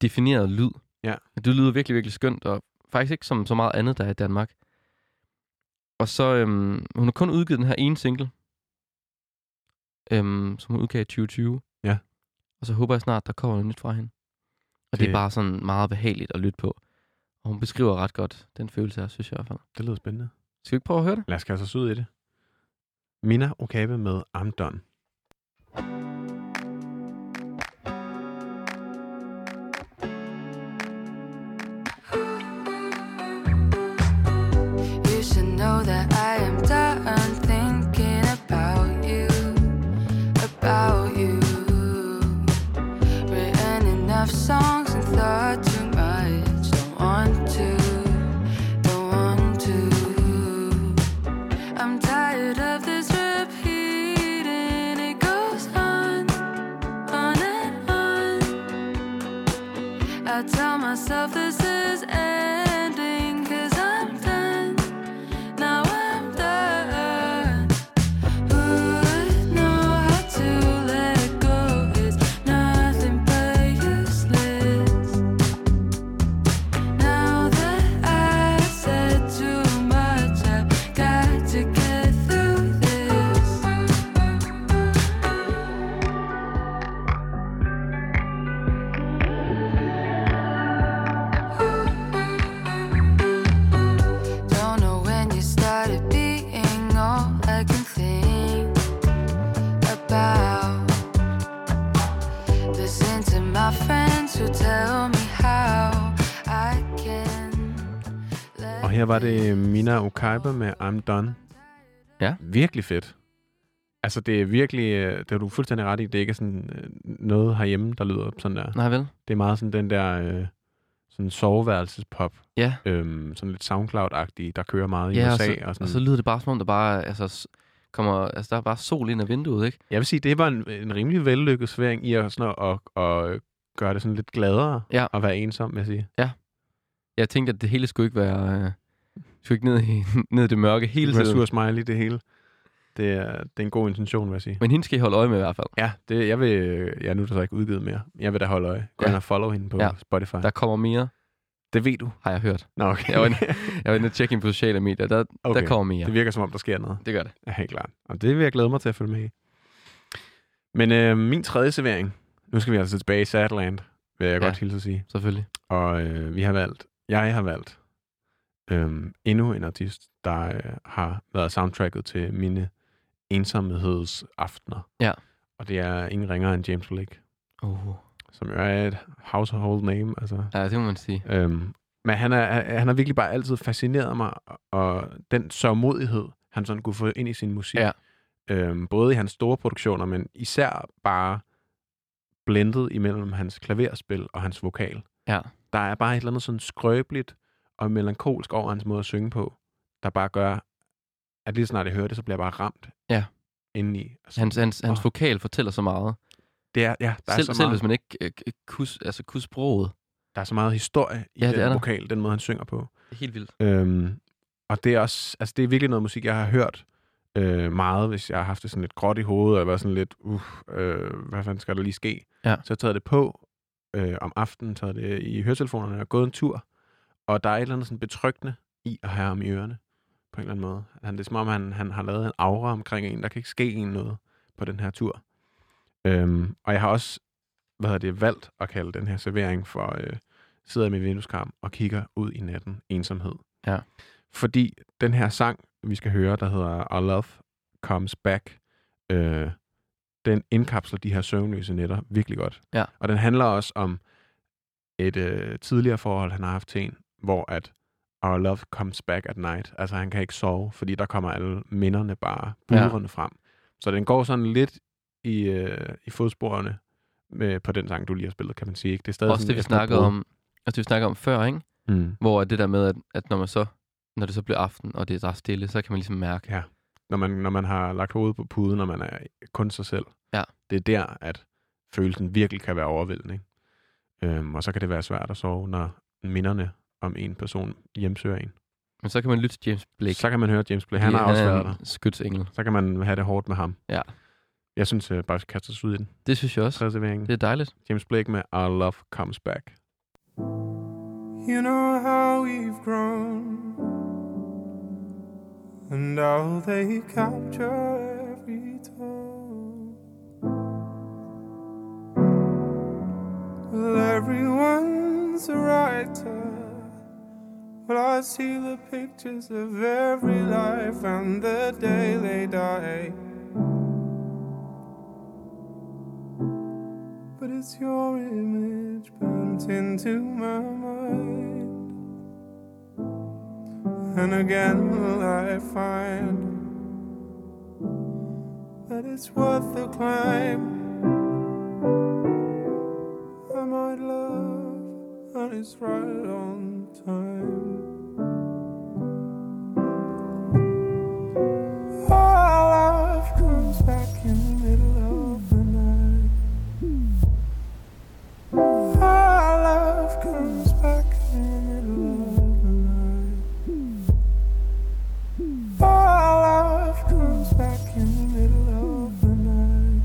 defineret lyd.
Ja.
Det lyder virkelig, virkelig skønt, og faktisk ikke som så meget andet, der er i Danmark. Og så, øhm, hun har kun udgivet den her ene single, øhm, som hun udgav i 2020.
Ja.
Og så håber jeg snart, der kommer noget nyt fra hende. Og det, det
Det-
er bare sådan meget behageligt at lytte på. Og hun beskriver ret godt den følelse her, synes jeg i hvert fald.
Det lyder spændende.
Skal vi ikke prøve at høre det?
Lad os kaste os ud i det. Mina Okabe med I'm Done.
You should know that I am done thinking about you, about you. Written enough songs and thought too much. Don't want to, don't want to. I'm tired of this repeating. It goes on, on and on. I tell myself this is ending, cause I'm done. Now I'm done. Would know how to let it go. It's nothing but useless. Now that I've said too much, I've got to get through this. Don't know when you started being all I can think about. Listen to my friends who tell me how I can. let
Og her var det Mina Okabe med I'm Done.
Ja.
Virkelig fedt. Altså, det er virkelig... øh, Det har du fuldstændig ret i. Det er ikke sådan øh, noget herhjemme, der lyder sådan der.
Nej vel?
Det er meget sådan den der... Øh, sådan soveværelsespop.
Ja.
Øhm, sådan lidt SoundCloud-agtig, der kører meget i
ja, og
USA.
så,
og sådan.
og så lyder det bare som om, der bare altså, s- kommer, altså, der er bare sol ind ad vinduet, ikke?
Jeg vil sige, det var en, en rimelig vellykket sværing i at, sådan at, at, at gøre det sådan lidt gladere
Ja.
at være ensom, vil jeg sige.
Jeg tænkte, at det hele skulle ikke være... Øh, skulle ikke ned i, ned i det mørke hele
Det var sur
tiden.
smiley, det hele. Det er, det er en god intention, vil jeg sige.
Men hende skal I holde øje med i hvert fald.
Ja, det, jeg vil... Ja, nu er der så ikke udgivet mere. Jeg vil da holde øje. Gå
Ja.
ja. ind og follow hende på
Ja.
ja. Spotify.
Der kommer mere,
Det ved du.
har jeg hørt.
Nå, okay.
Jeg var inde- Jeg var inde og tjekke hende på sociale medier. Der, okay. der
Okay.
kommer mere.
Det virker, som om der sker noget.
Det gør det.
Ja, helt klart. Og det vil jeg glæde mig til at følge med i. Men øh, min tredje servering... Nu skal vi altså tilbage i Sadland, vil jeg ja.
Ja.
godt hilse at sige.
Selvfølgelig.
Og øh, vi har valgt, jeg har valgt øh, endnu en artist, der øh, har været soundtracket til mine ensomhedsaftener.
Ja.
Og det er ingen ringer end James Blake,
Uh.
som jo er et household name. Altså.
Ja, det må man sige.
Øhm, men han, er, han har virkelig bare altid fascineret mig, og den sørgmodighed, han sådan kunne få ind i sin musik.
Ja.
Øhm, både i hans store produktioner, men især bare blendet imellem hans klaverspil og hans vokal.
Ja.
Der er bare et eller andet sådan skrøbeligt og melankolsk over hans måde at synge på, der bare gør, at lige så snart jeg hører det, så bliver jeg bare ramt
Ja.
indeni. Altså,
Hans, hans, hans
Åh.
vokal fortæller så meget.
det er, ja, der,
selv,
er så
selv
meget,
hvis man ikke øh, øh, kus, altså, kus sproget.
der er så meget historie i
Ja, det
den
er der.
vokal, den måde, han synger på.
Det er helt vildt.
Øhm, og det er også, altså det er virkelig noget musik, jeg har hørt øh, meget, hvis jeg har haft det sådan lidt gråt i hovedet, og været sådan lidt, uh, øh, hvad fanden skal der lige ske?
Ja.
Så har jeg taget det på øh, om aftenen, taget det i høretelefonerne og gået en tur, og der er et eller andet sådan betryggende i at have ham i ørerne, på en eller anden måde. Han, det er som om, han, han har lavet en aura omkring en, der kan ikke ske en noget på den her tur. Øhm, og jeg har også, hvad hedder det, valgt at kalde den her servering for, øh, sidder jeg med vindueskarm og kigger ud i natten, ensomhed. Fordi den her sang, vi skal høre, der hedder Our Love Comes Back, øh, den indkapsler de her søvnløse nætter virkelig godt.
Ja.
Og den handler også om et øh, tidligere forhold, han har haft til en, hvor at Our Love Comes Back at Night, altså han kan ikke sove, fordi der kommer alle minderne bare
Ja.
burende ja. frem. Så den går sådan lidt i, øh, i fodsporene med, på den sang, du lige har spillet, kan man sige. Ikke? Det er stadig
Også
sådan
det, vi
efter et
snakkede
brud.
om, også det, vi snakkede om før, ikke?
Mm.
Hvor det der med, at, at når man så når det så bliver aften, og det er ret stille, så kan man ligesom mærke,
Ja. Når, man, når man har lagt hovedet på puden, og man er kun sig selv.
Ja.
Det er der, at følelsen virkelig kan være overvældende. ikke? Øhm, og så kan det være svært at sove, når minderne om en person hjemsøger en.
men så kan man lytte til James Blake.
Så kan man høre James Blake. Han
fordi
har også
er
været der.
en skytsengel.
Så kan man have det hårdt med ham.
Ja.
Jeg synes øh, bare, vi skal kaste os ud i den.
Det synes jeg også.
Reserveringen.
Det er dejligt.
James Blake med Our Love Comes Back.
You know how we've grown and how they capture every tone. Well, everyone's a writer. Well, I see the pictures of every life and the day they die. but it's your image burnt into my mind. And again, will I find that it's worth the climb? I might love, and it's right on time. All love comes back in the middle of the night. Our love comes back in the middle of the night. Our love comes back in the middle of the night.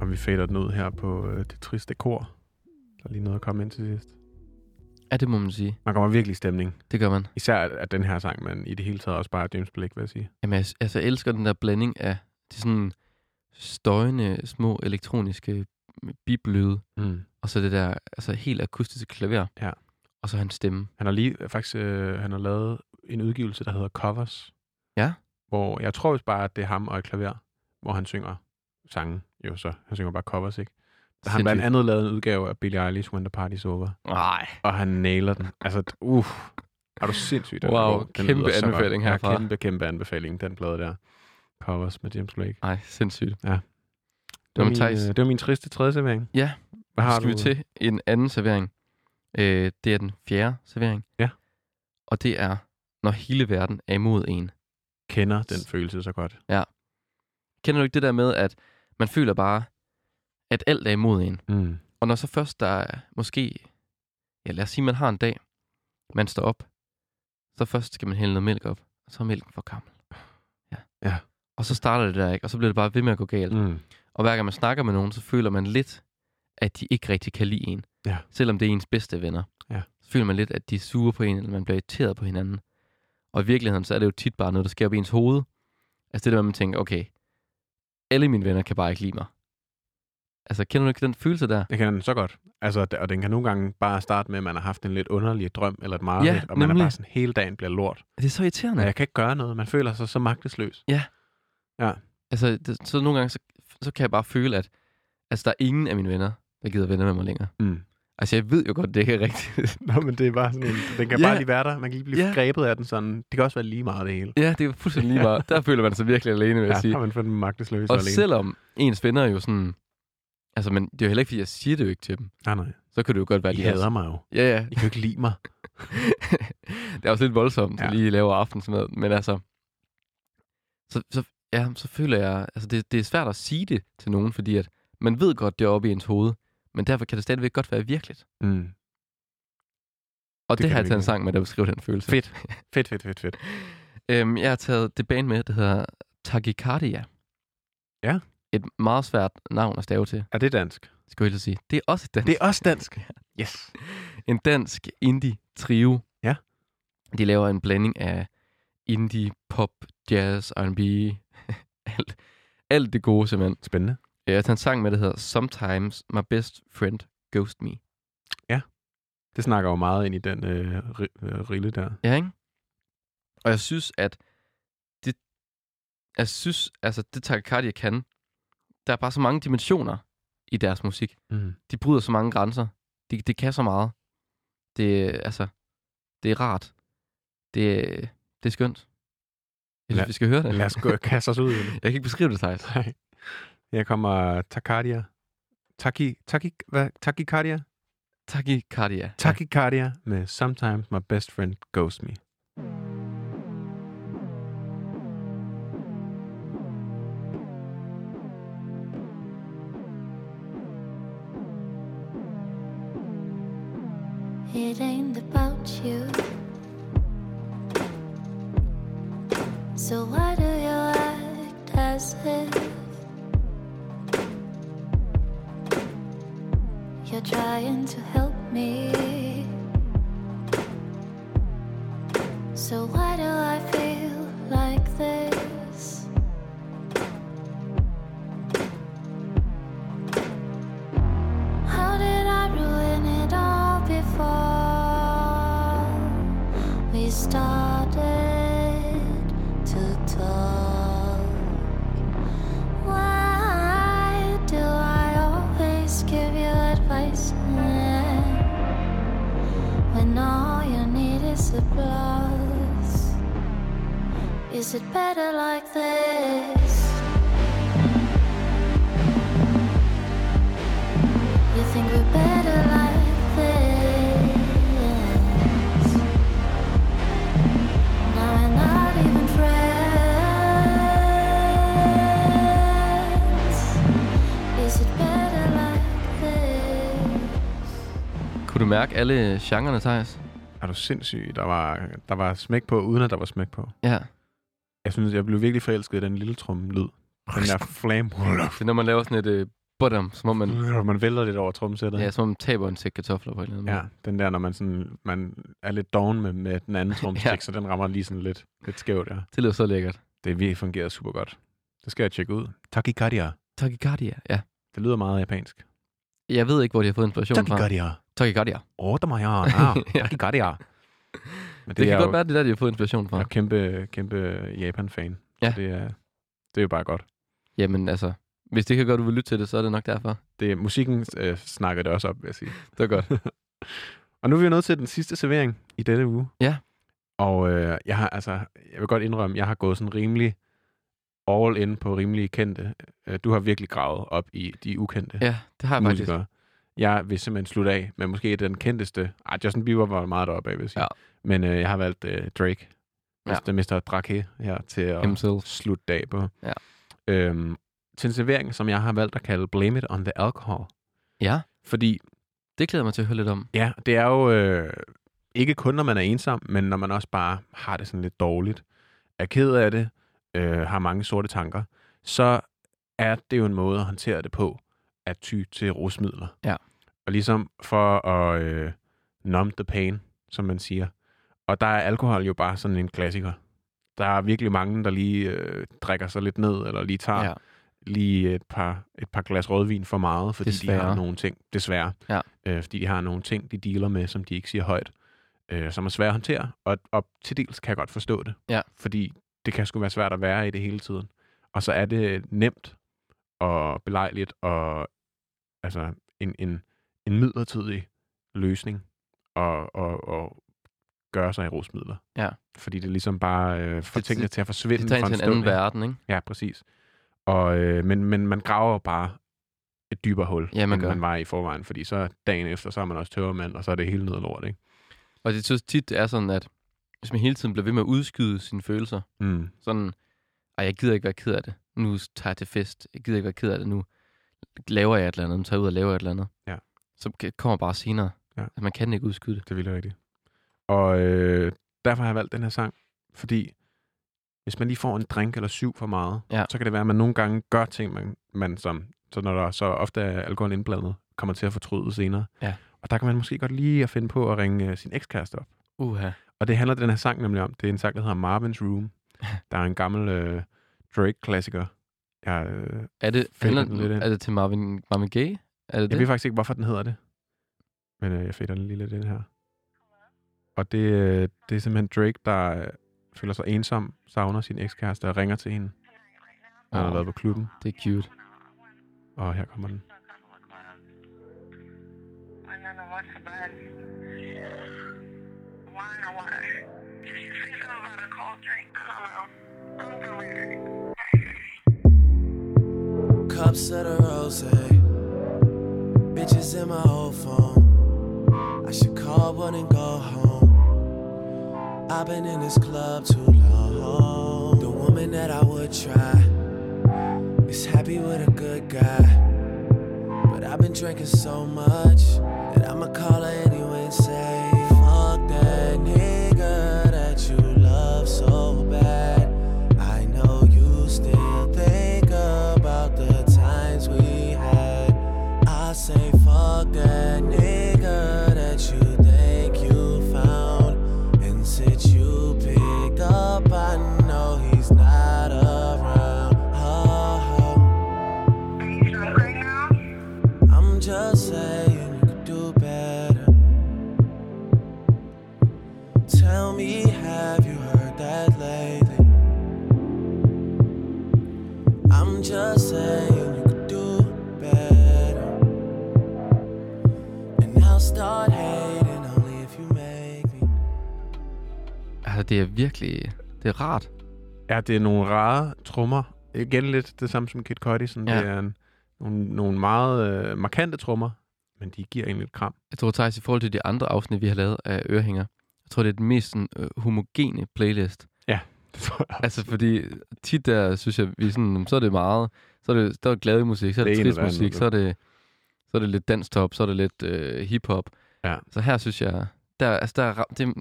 Og vi fader den ud her på øh, det triste kor. Der er lige noget at komme ind til sidst.
Ja, det må man sige.
Man kommer virkelig i stemning.
Det gør man.
Især at, at den her sang, men i det hele taget også bare James Blake, vil jeg sige.
Jamen, jeg, altså, jeg elsker den der blanding af de sådan støjende, små elektroniske biblyde,
Mm.
og så det der altså, helt akustiske klaver.
Ja.
Og så hans stemme.
Han har lige faktisk øh, han har lavet en udgivelse, der hedder Covers.
Ja.
Hvor jeg tror vist bare, at det er ham og et klaver, hvor han synger sange. Jo, så han synger bare covers, ikke? Der har han blandt
Sindssygt.
andet lavet en udgave af Billie Eilish, When the Party's Over.
Nej.
Og han nailer den. Altså, uff. Er du sindssygt? den er
Wow,
god. Den
kæmpe
lyder så godt.
anbefaling herfra.
Ja, kæmpe, kæmpe anbefaling, den plade der. Covers med James Blake.
Nej, sindssygt.
Det var,
Jamen,
min,
Theis.
øh, det var min triste tredje servering.
Ja.
Hvad har
skal
du?
vi til en anden servering. Øh, det er den fjerde servering.
Ja.
Og det er, når hele verden er imod en.
Kender den følelse så godt.
Kender du ikke det der med, at man føler bare, at alt er imod en?
Mm.
Og når så først der er måske, ja lad os sige, man har en dag, man står op, så først skal man hælde noget mælk op, og så er mælken for gammel. Ja.
Ja.
Og så starter det der ikke, og så bliver det bare ved med at gå galt. Mm.
Mm.
Og hver gang man snakker med nogen, så føler man lidt, at de ikke rigtig kan lide en.
Ja.
Selvom det er ens bedste venner.
Ja.
Så føler man lidt, at de er sure på en, eller man bliver irriteret på hinanden. Og i virkeligheden, så er det jo tit bare noget, der sker op i ens hoved. Altså det der, med, at man tænker, okay, alle mine venner kan bare ikke lide mig. Altså kender du ikke den følelse der?
Jeg kender den så godt. Altså, d- og den kan nogle gange bare starte med, at man har haft en lidt underlig drøm eller et mareridt,
Ja,
og man er
nemlig.
bare sådan, hele dagen bliver lort.
Det er så irriterende.
Men jeg kan ikke gøre noget. Man føler sig så magtesløs.
Altså, det, så nogle gange, så, så kan jeg bare føle, at altså, der er ingen af mine venner, der gider venner med mig længere.
Mm.
Altså, jeg ved jo godt, det ikke er rigtigt.
Nå, men det er bare sådan en, den kan
Ja.
bare lige være der. Man kan lige blive
Ja.
grebet af den sådan. Det kan også være lige meget det hele.
ja, det er fuldstændig lige meget. Der føler man sig virkelig alene, vil jeg
Ja,
sige.
har man fandme magtesløs
Og
alene.
selvom ens venner jo sådan... Altså, men det er jo heller ikke, fordi jeg siger det jo ikke til dem.
Ah, Nej, nej.
Så kan det jo godt være,
I
de
hader mig jo.
Ja, ja.
I kan jo ikke lide mig.
det er også lidt voldsomt,
Ja.
at lige laver aftensmad. Men altså... Så, så, ja, så føler jeg... Altså, det, det er svært at sige det til nogen, fordi at man ved godt, det er oppe i ens hoved. Men derfor kan det stadigvæk godt være virkeligt.
Mm.
Og
Det
det, det
kan
har jeg
vi
taget en
ikke.
sang med, der beskriver den følelse.
Fedt. Fedt, fedt, fedt, fedt.
Øhm, jeg har taget det band med, der hedder Tachycardia.
Ja.
Et meget svært navn at stave til,
Er det dansk?
skal jeg helt sige. Det er også dansk.
Det
Det...
er også dansk. Yes.
En dansk indie-trio.
Ja.
De laver en blanding af indie, pop, jazz, R&B, alt, alt det gode simpelthen. Øh,
Spændende.
Jeg har taget en sang med, der hedder Sometimes My Best Friend Ghost Me.
Det snakker jo meget ind i den øh, ri- øh, rille der.
Ja, ikke? Og jeg synes, at det, jeg synes, altså det Takakardia kan, der er bare så mange dimensioner i deres musik.
Mm.
De bryder så mange grænser. Det, det kan så meget. Det, er, altså, det er rart. Det, er- Det er skønt. Jeg synes,
Lad-
vi skal høre det.
Lad os gå og kaste os ud i det.
Jeg kan ikke beskrive det, Thijs.
Nej. Her kommer Takardia. Taki, taki, hvad? Takikardia?
Tachycardia.
Takikardia med Sometimes My Best Friend Ghost Me.
It ain't about you. So why do you act as if you're trying to help me? So why do I feel like this? How did I ruin it all before we started to talk? Why do I always give you advice when- when all you need is applause? Is it better like this? You think we're better like this? Now we're not even friends. Is it better like this?
Kunne du mærke alle genrerne, Thijs?
Er du sindssyg? Der var, der var smæk på, uden at der var smæk på.
Ja.
Jeg synes, jeg blev virkelig forelsket i den lille trummelyd. Den der flam.
Det er, når man laver sådan et øh, bottom, som om man,
Man vælter lidt over tromsættet.
ja, som om man taber en sæk kartofler på en eller anden
Ja,
måde.
den der, når man, sådan, man er lidt doven med, med den anden tromstik,
Ja.
ja. så den rammer lige sådan lidt, lidt skævt, ja.
Det lyder så lækkert.
Det virkelig fungerer super godt. Det skal jeg tjekke ud. Takikardia.
Tachycardia, ja.
Det lyder meget japansk.
Jeg ved ikke, hvor de har fået inspiration fra.
Takikardia.
Tachycardia.
Otamaya. Ah,
Ja.
Takikardia. Men
Det, det
er
kan
jo-
godt være, det er der, de har fået inspiration fra.
Jeg er kæmpe, kæmpe Japan-fan.
Ja.
Ja. Det er, det er jo bare godt.
Jamen altså, hvis det kan gøre, du vil lytte til det, så er det nok derfor.
Det, er- musikken øh, snakker det også op, vil jeg sige.
Det er godt.
Og nu er vi jo nået til den sidste servering i denne uge.
Ja.
Og øh, jeg har altså, jeg vil godt indrømme, jeg har gået sådan rimelig all in på rimelig kendte. Øh, Du har virkelig gravet op i de ukendte
Ja, det har jeg faktisk.
musikere. Jeg vil simpelthen slutte af med måske den kendteste. Ej, Justin Bieber var meget deroppe af, vil jeg sige.
Ja.
Men øh, jeg har valgt øh, Drake.
Ja.
Ja. Mr. Drake her til at
Himself.
slutte dag på.
Ja.
Øhm, til en servering, som jeg har valgt at kalde Blame It On The Alcohol.
Ja,
Fordi
det glæder jeg mig til at høre lidt om.
Ja, det er jo øh, ikke kun, når man er ensom, men når man også bare har det sådan lidt dårligt, er ked af det, øh, har mange sorte tanker, så er det jo en måde at håndtere det på, at ty til rusmidler.
Ja.
Og ligesom for at øh, numb the pain, som man siger. Og der er alkohol jo bare sådan en klassiker. Der er virkelig mange, der lige øh, drikker sig lidt ned, eller lige tager ja.
Ja.
lige et par, et par glas rødvin for meget, fordi desværre. de har
Desværre.
nogle ting, desværre,
Ja.
øh, fordi de har nogle ting, de dealer med, som de ikke siger højt, øh, som er svære at håndtere, og, og til dels kan jeg godt forstå det,
Ja.
fordi det kan sgu være svært at være i det hele tiden. Og så er det nemt og belejligt og altså en, en, en midlertidig løsning at, at, at gøre sig i rusmidler.
Ja.
Fordi det ligesom bare øh, får
Det-
tingene
det-
til at forsvinde
Det tager
for
ind
en
til en anden
stund, ikke?
verden, ikke?
Ja, præcis. Og, øh, men, men man graver bare et dybere hul,
Ja, man
end
gør.
man var i forvejen, fordi så dagen efter, så er man også tørremand, og så er det hele ned ad lort, ikke?
Og det synes tit, det er sådan, at hvis man hele tiden bliver ved med at udskyde sine følelser,
Mm.
sådan, ej, jeg gider ikke være ked af det. Nu tager jeg til fest. Jeg gider ikke være ked af det. Nu laver jeg et eller andet. Nu tager jeg ud og laver et eller andet.
Ja.
Så kan- kommer bare senere.
Ja.
Altså, man kan ikke udskyde det.
Det er vildt rigtigt. Og øh, derfor har jeg valgt den her sang, fordi hvis man lige får en drink eller syv for meget,
Ja.
så kan det være, at man nogle gange gør ting, man, man som, så når der så ofte er alkohol indblandet, kommer til at fortryde senere.
Ja.
Og der kan man måske godt lige at finde på at ringe øh, sin ekskæreste op.
Uha.
Og det handler den her sang nemlig om. Det er en sang, der hedder Marvin's Room. Der er en gammel øh, Drake-klassiker. Jeg, øh,
Er det,
Fader den lidt
handler,
ind.
er det til Marvin, Marvin Gaye? Er det
jeg ved
det?
faktisk ikke, hvorfor den hedder det. Men øh, jeg fader den lige lidt den her. Og det, øh, det er simpelthen Drake, der øh, føler sig ensom, savner sin ekskæreste og ringer til hende. Når han har
Åh.
været på klubben.
Det er cute.
Og her kommer den.
I don't know what to do. Why, why? Say something about
a cold drink. I don't know. I'm delirious.
Cups of the rose. Bitches in my old phone. I should call one and go home. I've been in this club too long. The woman that I would try is happy with a good guy. But I've been drinking so much that I'ma call her anyway and say, Fuck that nigga that you love so bad. I know you still think about the times we had. I say, fuck that nigga that you think you found. And since you pick up, I know he's not around. Oh,
Are you drunk right now?
I'm just saying you could do better. Tell me, have you heard that lately? I'm just saying you could do better. And I'll start hating only if you make me.
Altså, det er virkelig... Det er rart.
Ja, det er nogle rare trommer. Igen lidt det samme som Kid Cudi. Sådan,
Ja.
Det er en, nogle, nogle meget øh, markante trommer, men de giver en lidt kram.
Jeg tror, Thijs, i forhold til de andre afsnit, vi har lavet af Ørehænger, jeg tror, det er den mest sådan, øh, homogene playlist.
Det tror jeg.
Altså, fordi tit der, synes jeg, vi sådan, så er det meget... Så er det, der er glædelig musik, så er det,
Det
det
ene
trist
eller andet,
musik,
du.
så er det, så er det lidt danstop, så er det lidt øh, hiphop.
Ja.
Så her synes jeg... Der, altså, der er, ra- det,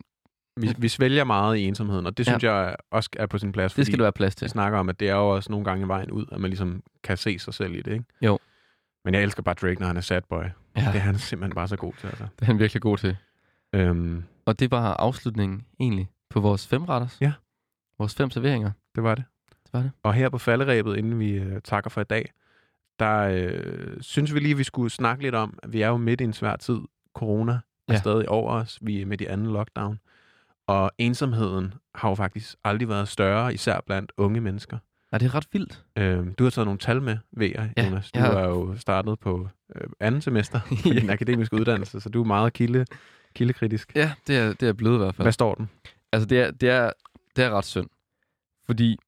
Vi, vi svælger meget i ensomheden, og det synes jeg også er på sin plads.
det skal der være plads til.
jeg snakker om, at det er jo også nogle gange vejen ud, at man ligesom kan se sig selv i det, ikke?
Jo.
Men jeg elsker bare Drake, når han er sad boy. Ja.
Ja,
Det er han simpelthen bare så god til, altså.
det er han virkelig god til.
Øhm,
Og det var afslutningen egentlig på vores femretters.
Ja.
Vores fem serveringer.
det var det.
Det var det.
Og her på falderæbet, inden vi øh, takker for i dag, der øh, synes vi lige, vi skulle snakke lidt om, at vi er jo midt i en svær tid. Corona er
Ja.
ja. stadig over os. Vi er midt i anden lockdown. Og ensomheden har jo faktisk aldrig været større, især blandt unge mennesker.
Ja, det er ret vildt.
Øh, du har taget nogle tal med, ved jeg,
Ja,
ja, Jonas. Du
jeg har-
er jo startet på øh, andet semester i din akademiske uddannelse, så du er meget kilde, kildekritisk.
Ja, det er, det er jeg blevet i hvert fald.
Hvad står den?
Altså, det er, det, er, det er ret synd. Fordi,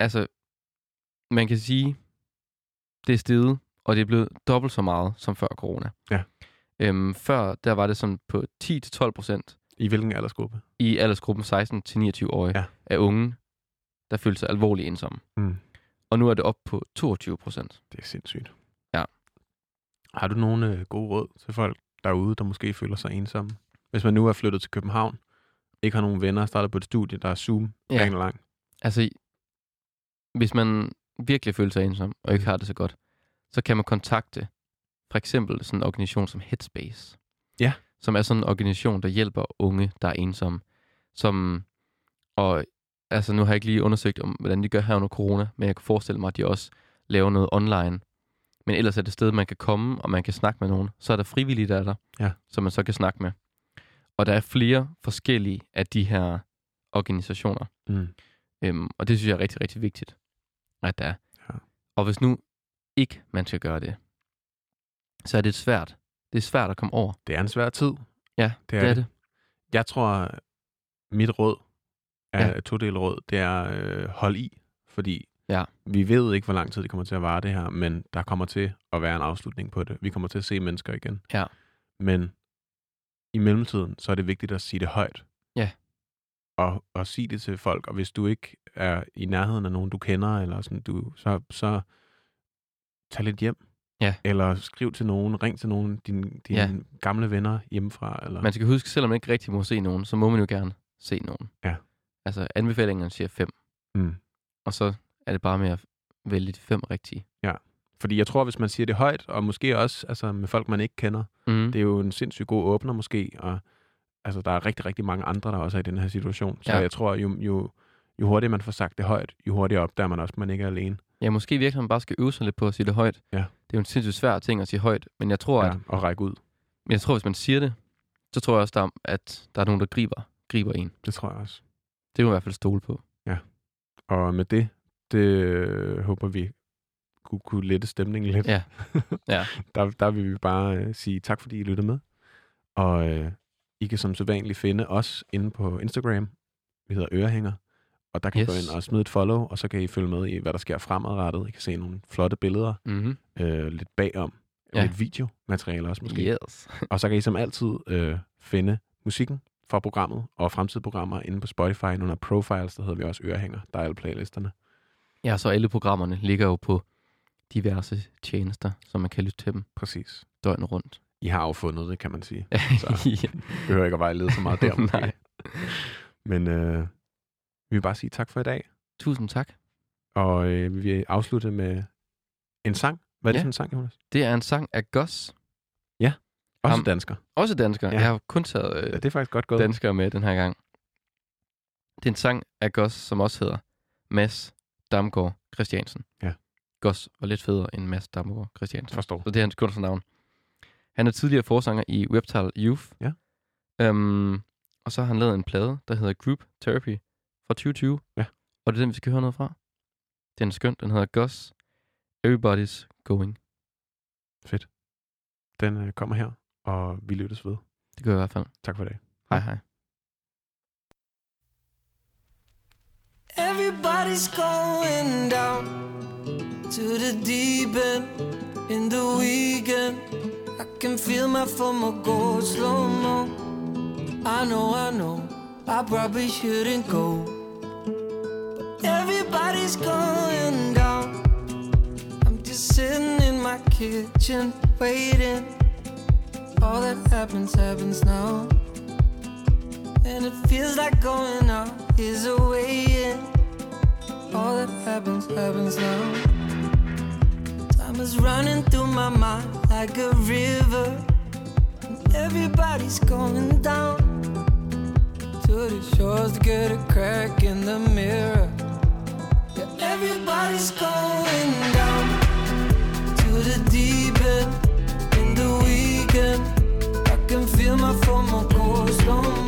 altså, man kan sige, det er steget, og det er blevet dobbelt så meget som før corona.
Ja.
Øhm, før, der var det sådan på 10-12 procent
I hvilken aldersgruppe?
i aldersgruppen 16-29-årige
Ja.
af unge, der følte sig alvorligt ensomme.
Mm.
Og nu er det op på 22 procent.
Det er sindssygt.
Ja.
Har du nogle øh, gode råd til folk derude, der måske føler sig ensomme? Hvis man nu er flyttet til København, ikke har nogen venner og startet på et studie, der er Zoom
Ja.
ja. lang.
Altså, hvis man virkelig føler sig ensom, og
Mm.
ikke har det så godt, så kan man kontakte for eksempel sådan en organisation som Headspace.
Ja.
Som er sådan en organisation, der hjælper unge, der er ensomme. Som, og altså, nu har jeg ikke lige undersøgt, om hvordan de gør her under corona, men jeg kan forestille mig, at de også laver noget online. Men ellers er det et sted, man kan komme, og man kan snakke med nogen. Så er der frivillige, der er der,
Ja.
som man så kan snakke med. Og der er flere forskellige af de her organisationer.
Mm.
Øhm, og det synes jeg er rigtig, rigtig vigtigt, at der er.
Ja.
Og hvis nu ikke man skal gøre det, så er det svært. Det er svært at komme over.
Det er en svær tid.
Ja,
det er
det er
det.
det.
Jeg tror, mit råd er
Ja.
ja. todel råd, det er øh, hold i, fordi
Ja.
vi ved ikke, hvor lang tid det kommer til at vare det her, men der kommer til at være en afslutning på det. Vi kommer til at se mennesker igen.
Ja.
Men i mellemtiden, så er det vigtigt at sige det højt.
Ja.
Og, og sige det til folk, og hvis du ikke er i nærheden af nogen, du kender, eller sådan, du, så, så tag lidt hjem.
Ja.
Eller skriv til nogen, ring til nogen, dine din
Ja.
ja. gamle venner hjemmefra. Eller...
Man skal huske, selvom man ikke rigtig må se nogen, så må man jo gerne se nogen.
Ja.
Altså anbefalingerne siger fem,
Mm.
og så er det bare med at vælge de fem rigtige.
Fordi jeg tror, hvis man siger det højt, og måske også altså, med folk, man ikke kender,
Mm.
det er jo en sindssygt god åbner måske, og altså, der er rigtig, rigtig mange andre, der også er i den her situation. Så
Ja.
ja. jeg tror, jo, jo, jo hurtigere man får sagt det højt, jo hurtigere opdager man også, at man ikke er alene.
Ja, måske virkelig man bare skal øve sig lidt på at sige det højt.
Ja.
Det er jo en sindssygt svær ting at sige højt, men jeg tror, ja. at,
Ja, og række ud.
men jeg tror, hvis man siger det, så tror jeg også, der, at der er nogen, der griber, griber en.
Det tror jeg også.
Det kan man i hvert fald stole på.
Og med det, det øh, håber vi kunne, kunne lette stemningen lidt.
Ja. Ja.
der, der vil vi bare øh, sige tak, fordi I lyttede med. Og øh, I kan som sædvanligt finde os inde på Instagram vi hedder Ørehænger. Og der kan yes. I gå
Yes.
ind og smide et follow, og så kan I følge med i, hvad der sker fremadrettet. I kan se nogle flotte billeder
Mm-hmm.
øh, lidt bagom. Ja.
Ja.
Lidt videomateriale også måske.
Yes.
Og så kan I som altid øh, finde musikken fra programmet og fremtidige programmer inde på Spotify under Profiles, der hedder vi også Ørehænger. Der er alle playlisterne.
Ja, så alle programmerne ligger jo på diverse tjenester, så man kan lytte til dem
Præcis.
døgnet rundt.
I har affundet det, kan man sige. Så.
ja.
behøver ikke at vejlede så meget der. måske.
Nej.
Men øh, vi vil bare sige tak for i dag,
Tusind tak.
og øh, vi vil afslutte med en sang. Hvad er det
Ja.
for en sang, Jonas?
Det er en sang af Goss.
Også
Ham- Øh,
dansker.
Også dansker.
Ja.
Ja. Jeg har kun taget
Ja,
øh,
det er faktisk godt gået.
danskere med den her gang. Det er en sang af Goss, som også hedder Mads Damgaard Christiansen.
Ja.
Goss var lidt federe end Mads Damgaard Christiansen.
Forstår.
Så det er hans kunstnernavn. Han er tidligere forsanger i Reptile Youth.
Ja.
Øhm, og så har han lavet en plade, der hedder Group Therapy fra 2020.
Ja.
Og det er den, vi skal høre noget fra. Den er skøn. Den hedder Goss. Everybody's Going.
Fedt. Den øh, kommer her, og vi lyttes ved.
Det gør jeg i hvert fald.
Tak for i dag.
Hej hej.
Everybody's going down to the deep end in the weekend. I can feel my FOMO go slow mo. I know, I know, I probably shouldn't go. Everybody's going down. I'm just sitting in my kitchen waiting. All that happens, happens now. And it feels like going out is a way in. All that happens, happens now. Time is running through my mind like a river. And everybody's going down to the shores to get a crack in the mirror. Yeah, everybody's going down to the deep end in the weekend. I can feel my FOMO go slow mo.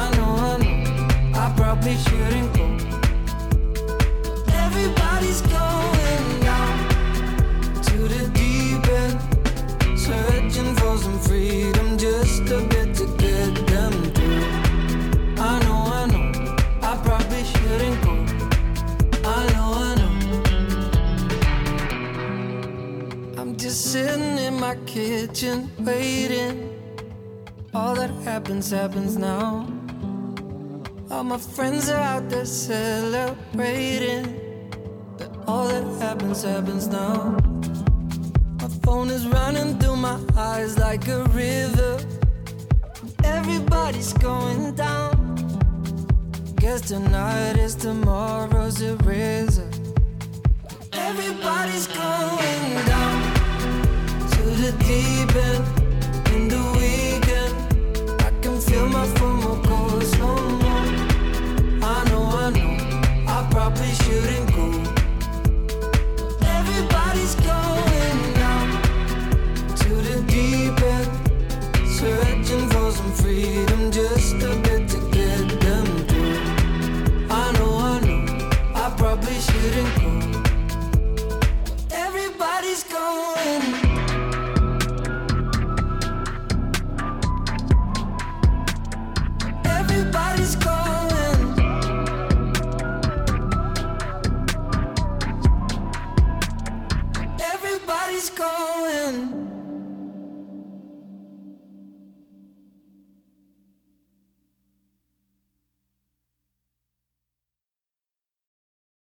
I know, I know, I probably shouldn't go. Everybody's going down to the deep end, searching for some freedom just a bit to get them through. I know, I know, I probably shouldn't go. I know, I know. I'm just sitting in my kitchen waiting. All that happens, happens now. All my friends are out there celebrating. But all that happens, happens now. My phone is running through my eyes like a river. Everybody's going down. Guess tonight is tomorrow's erasure.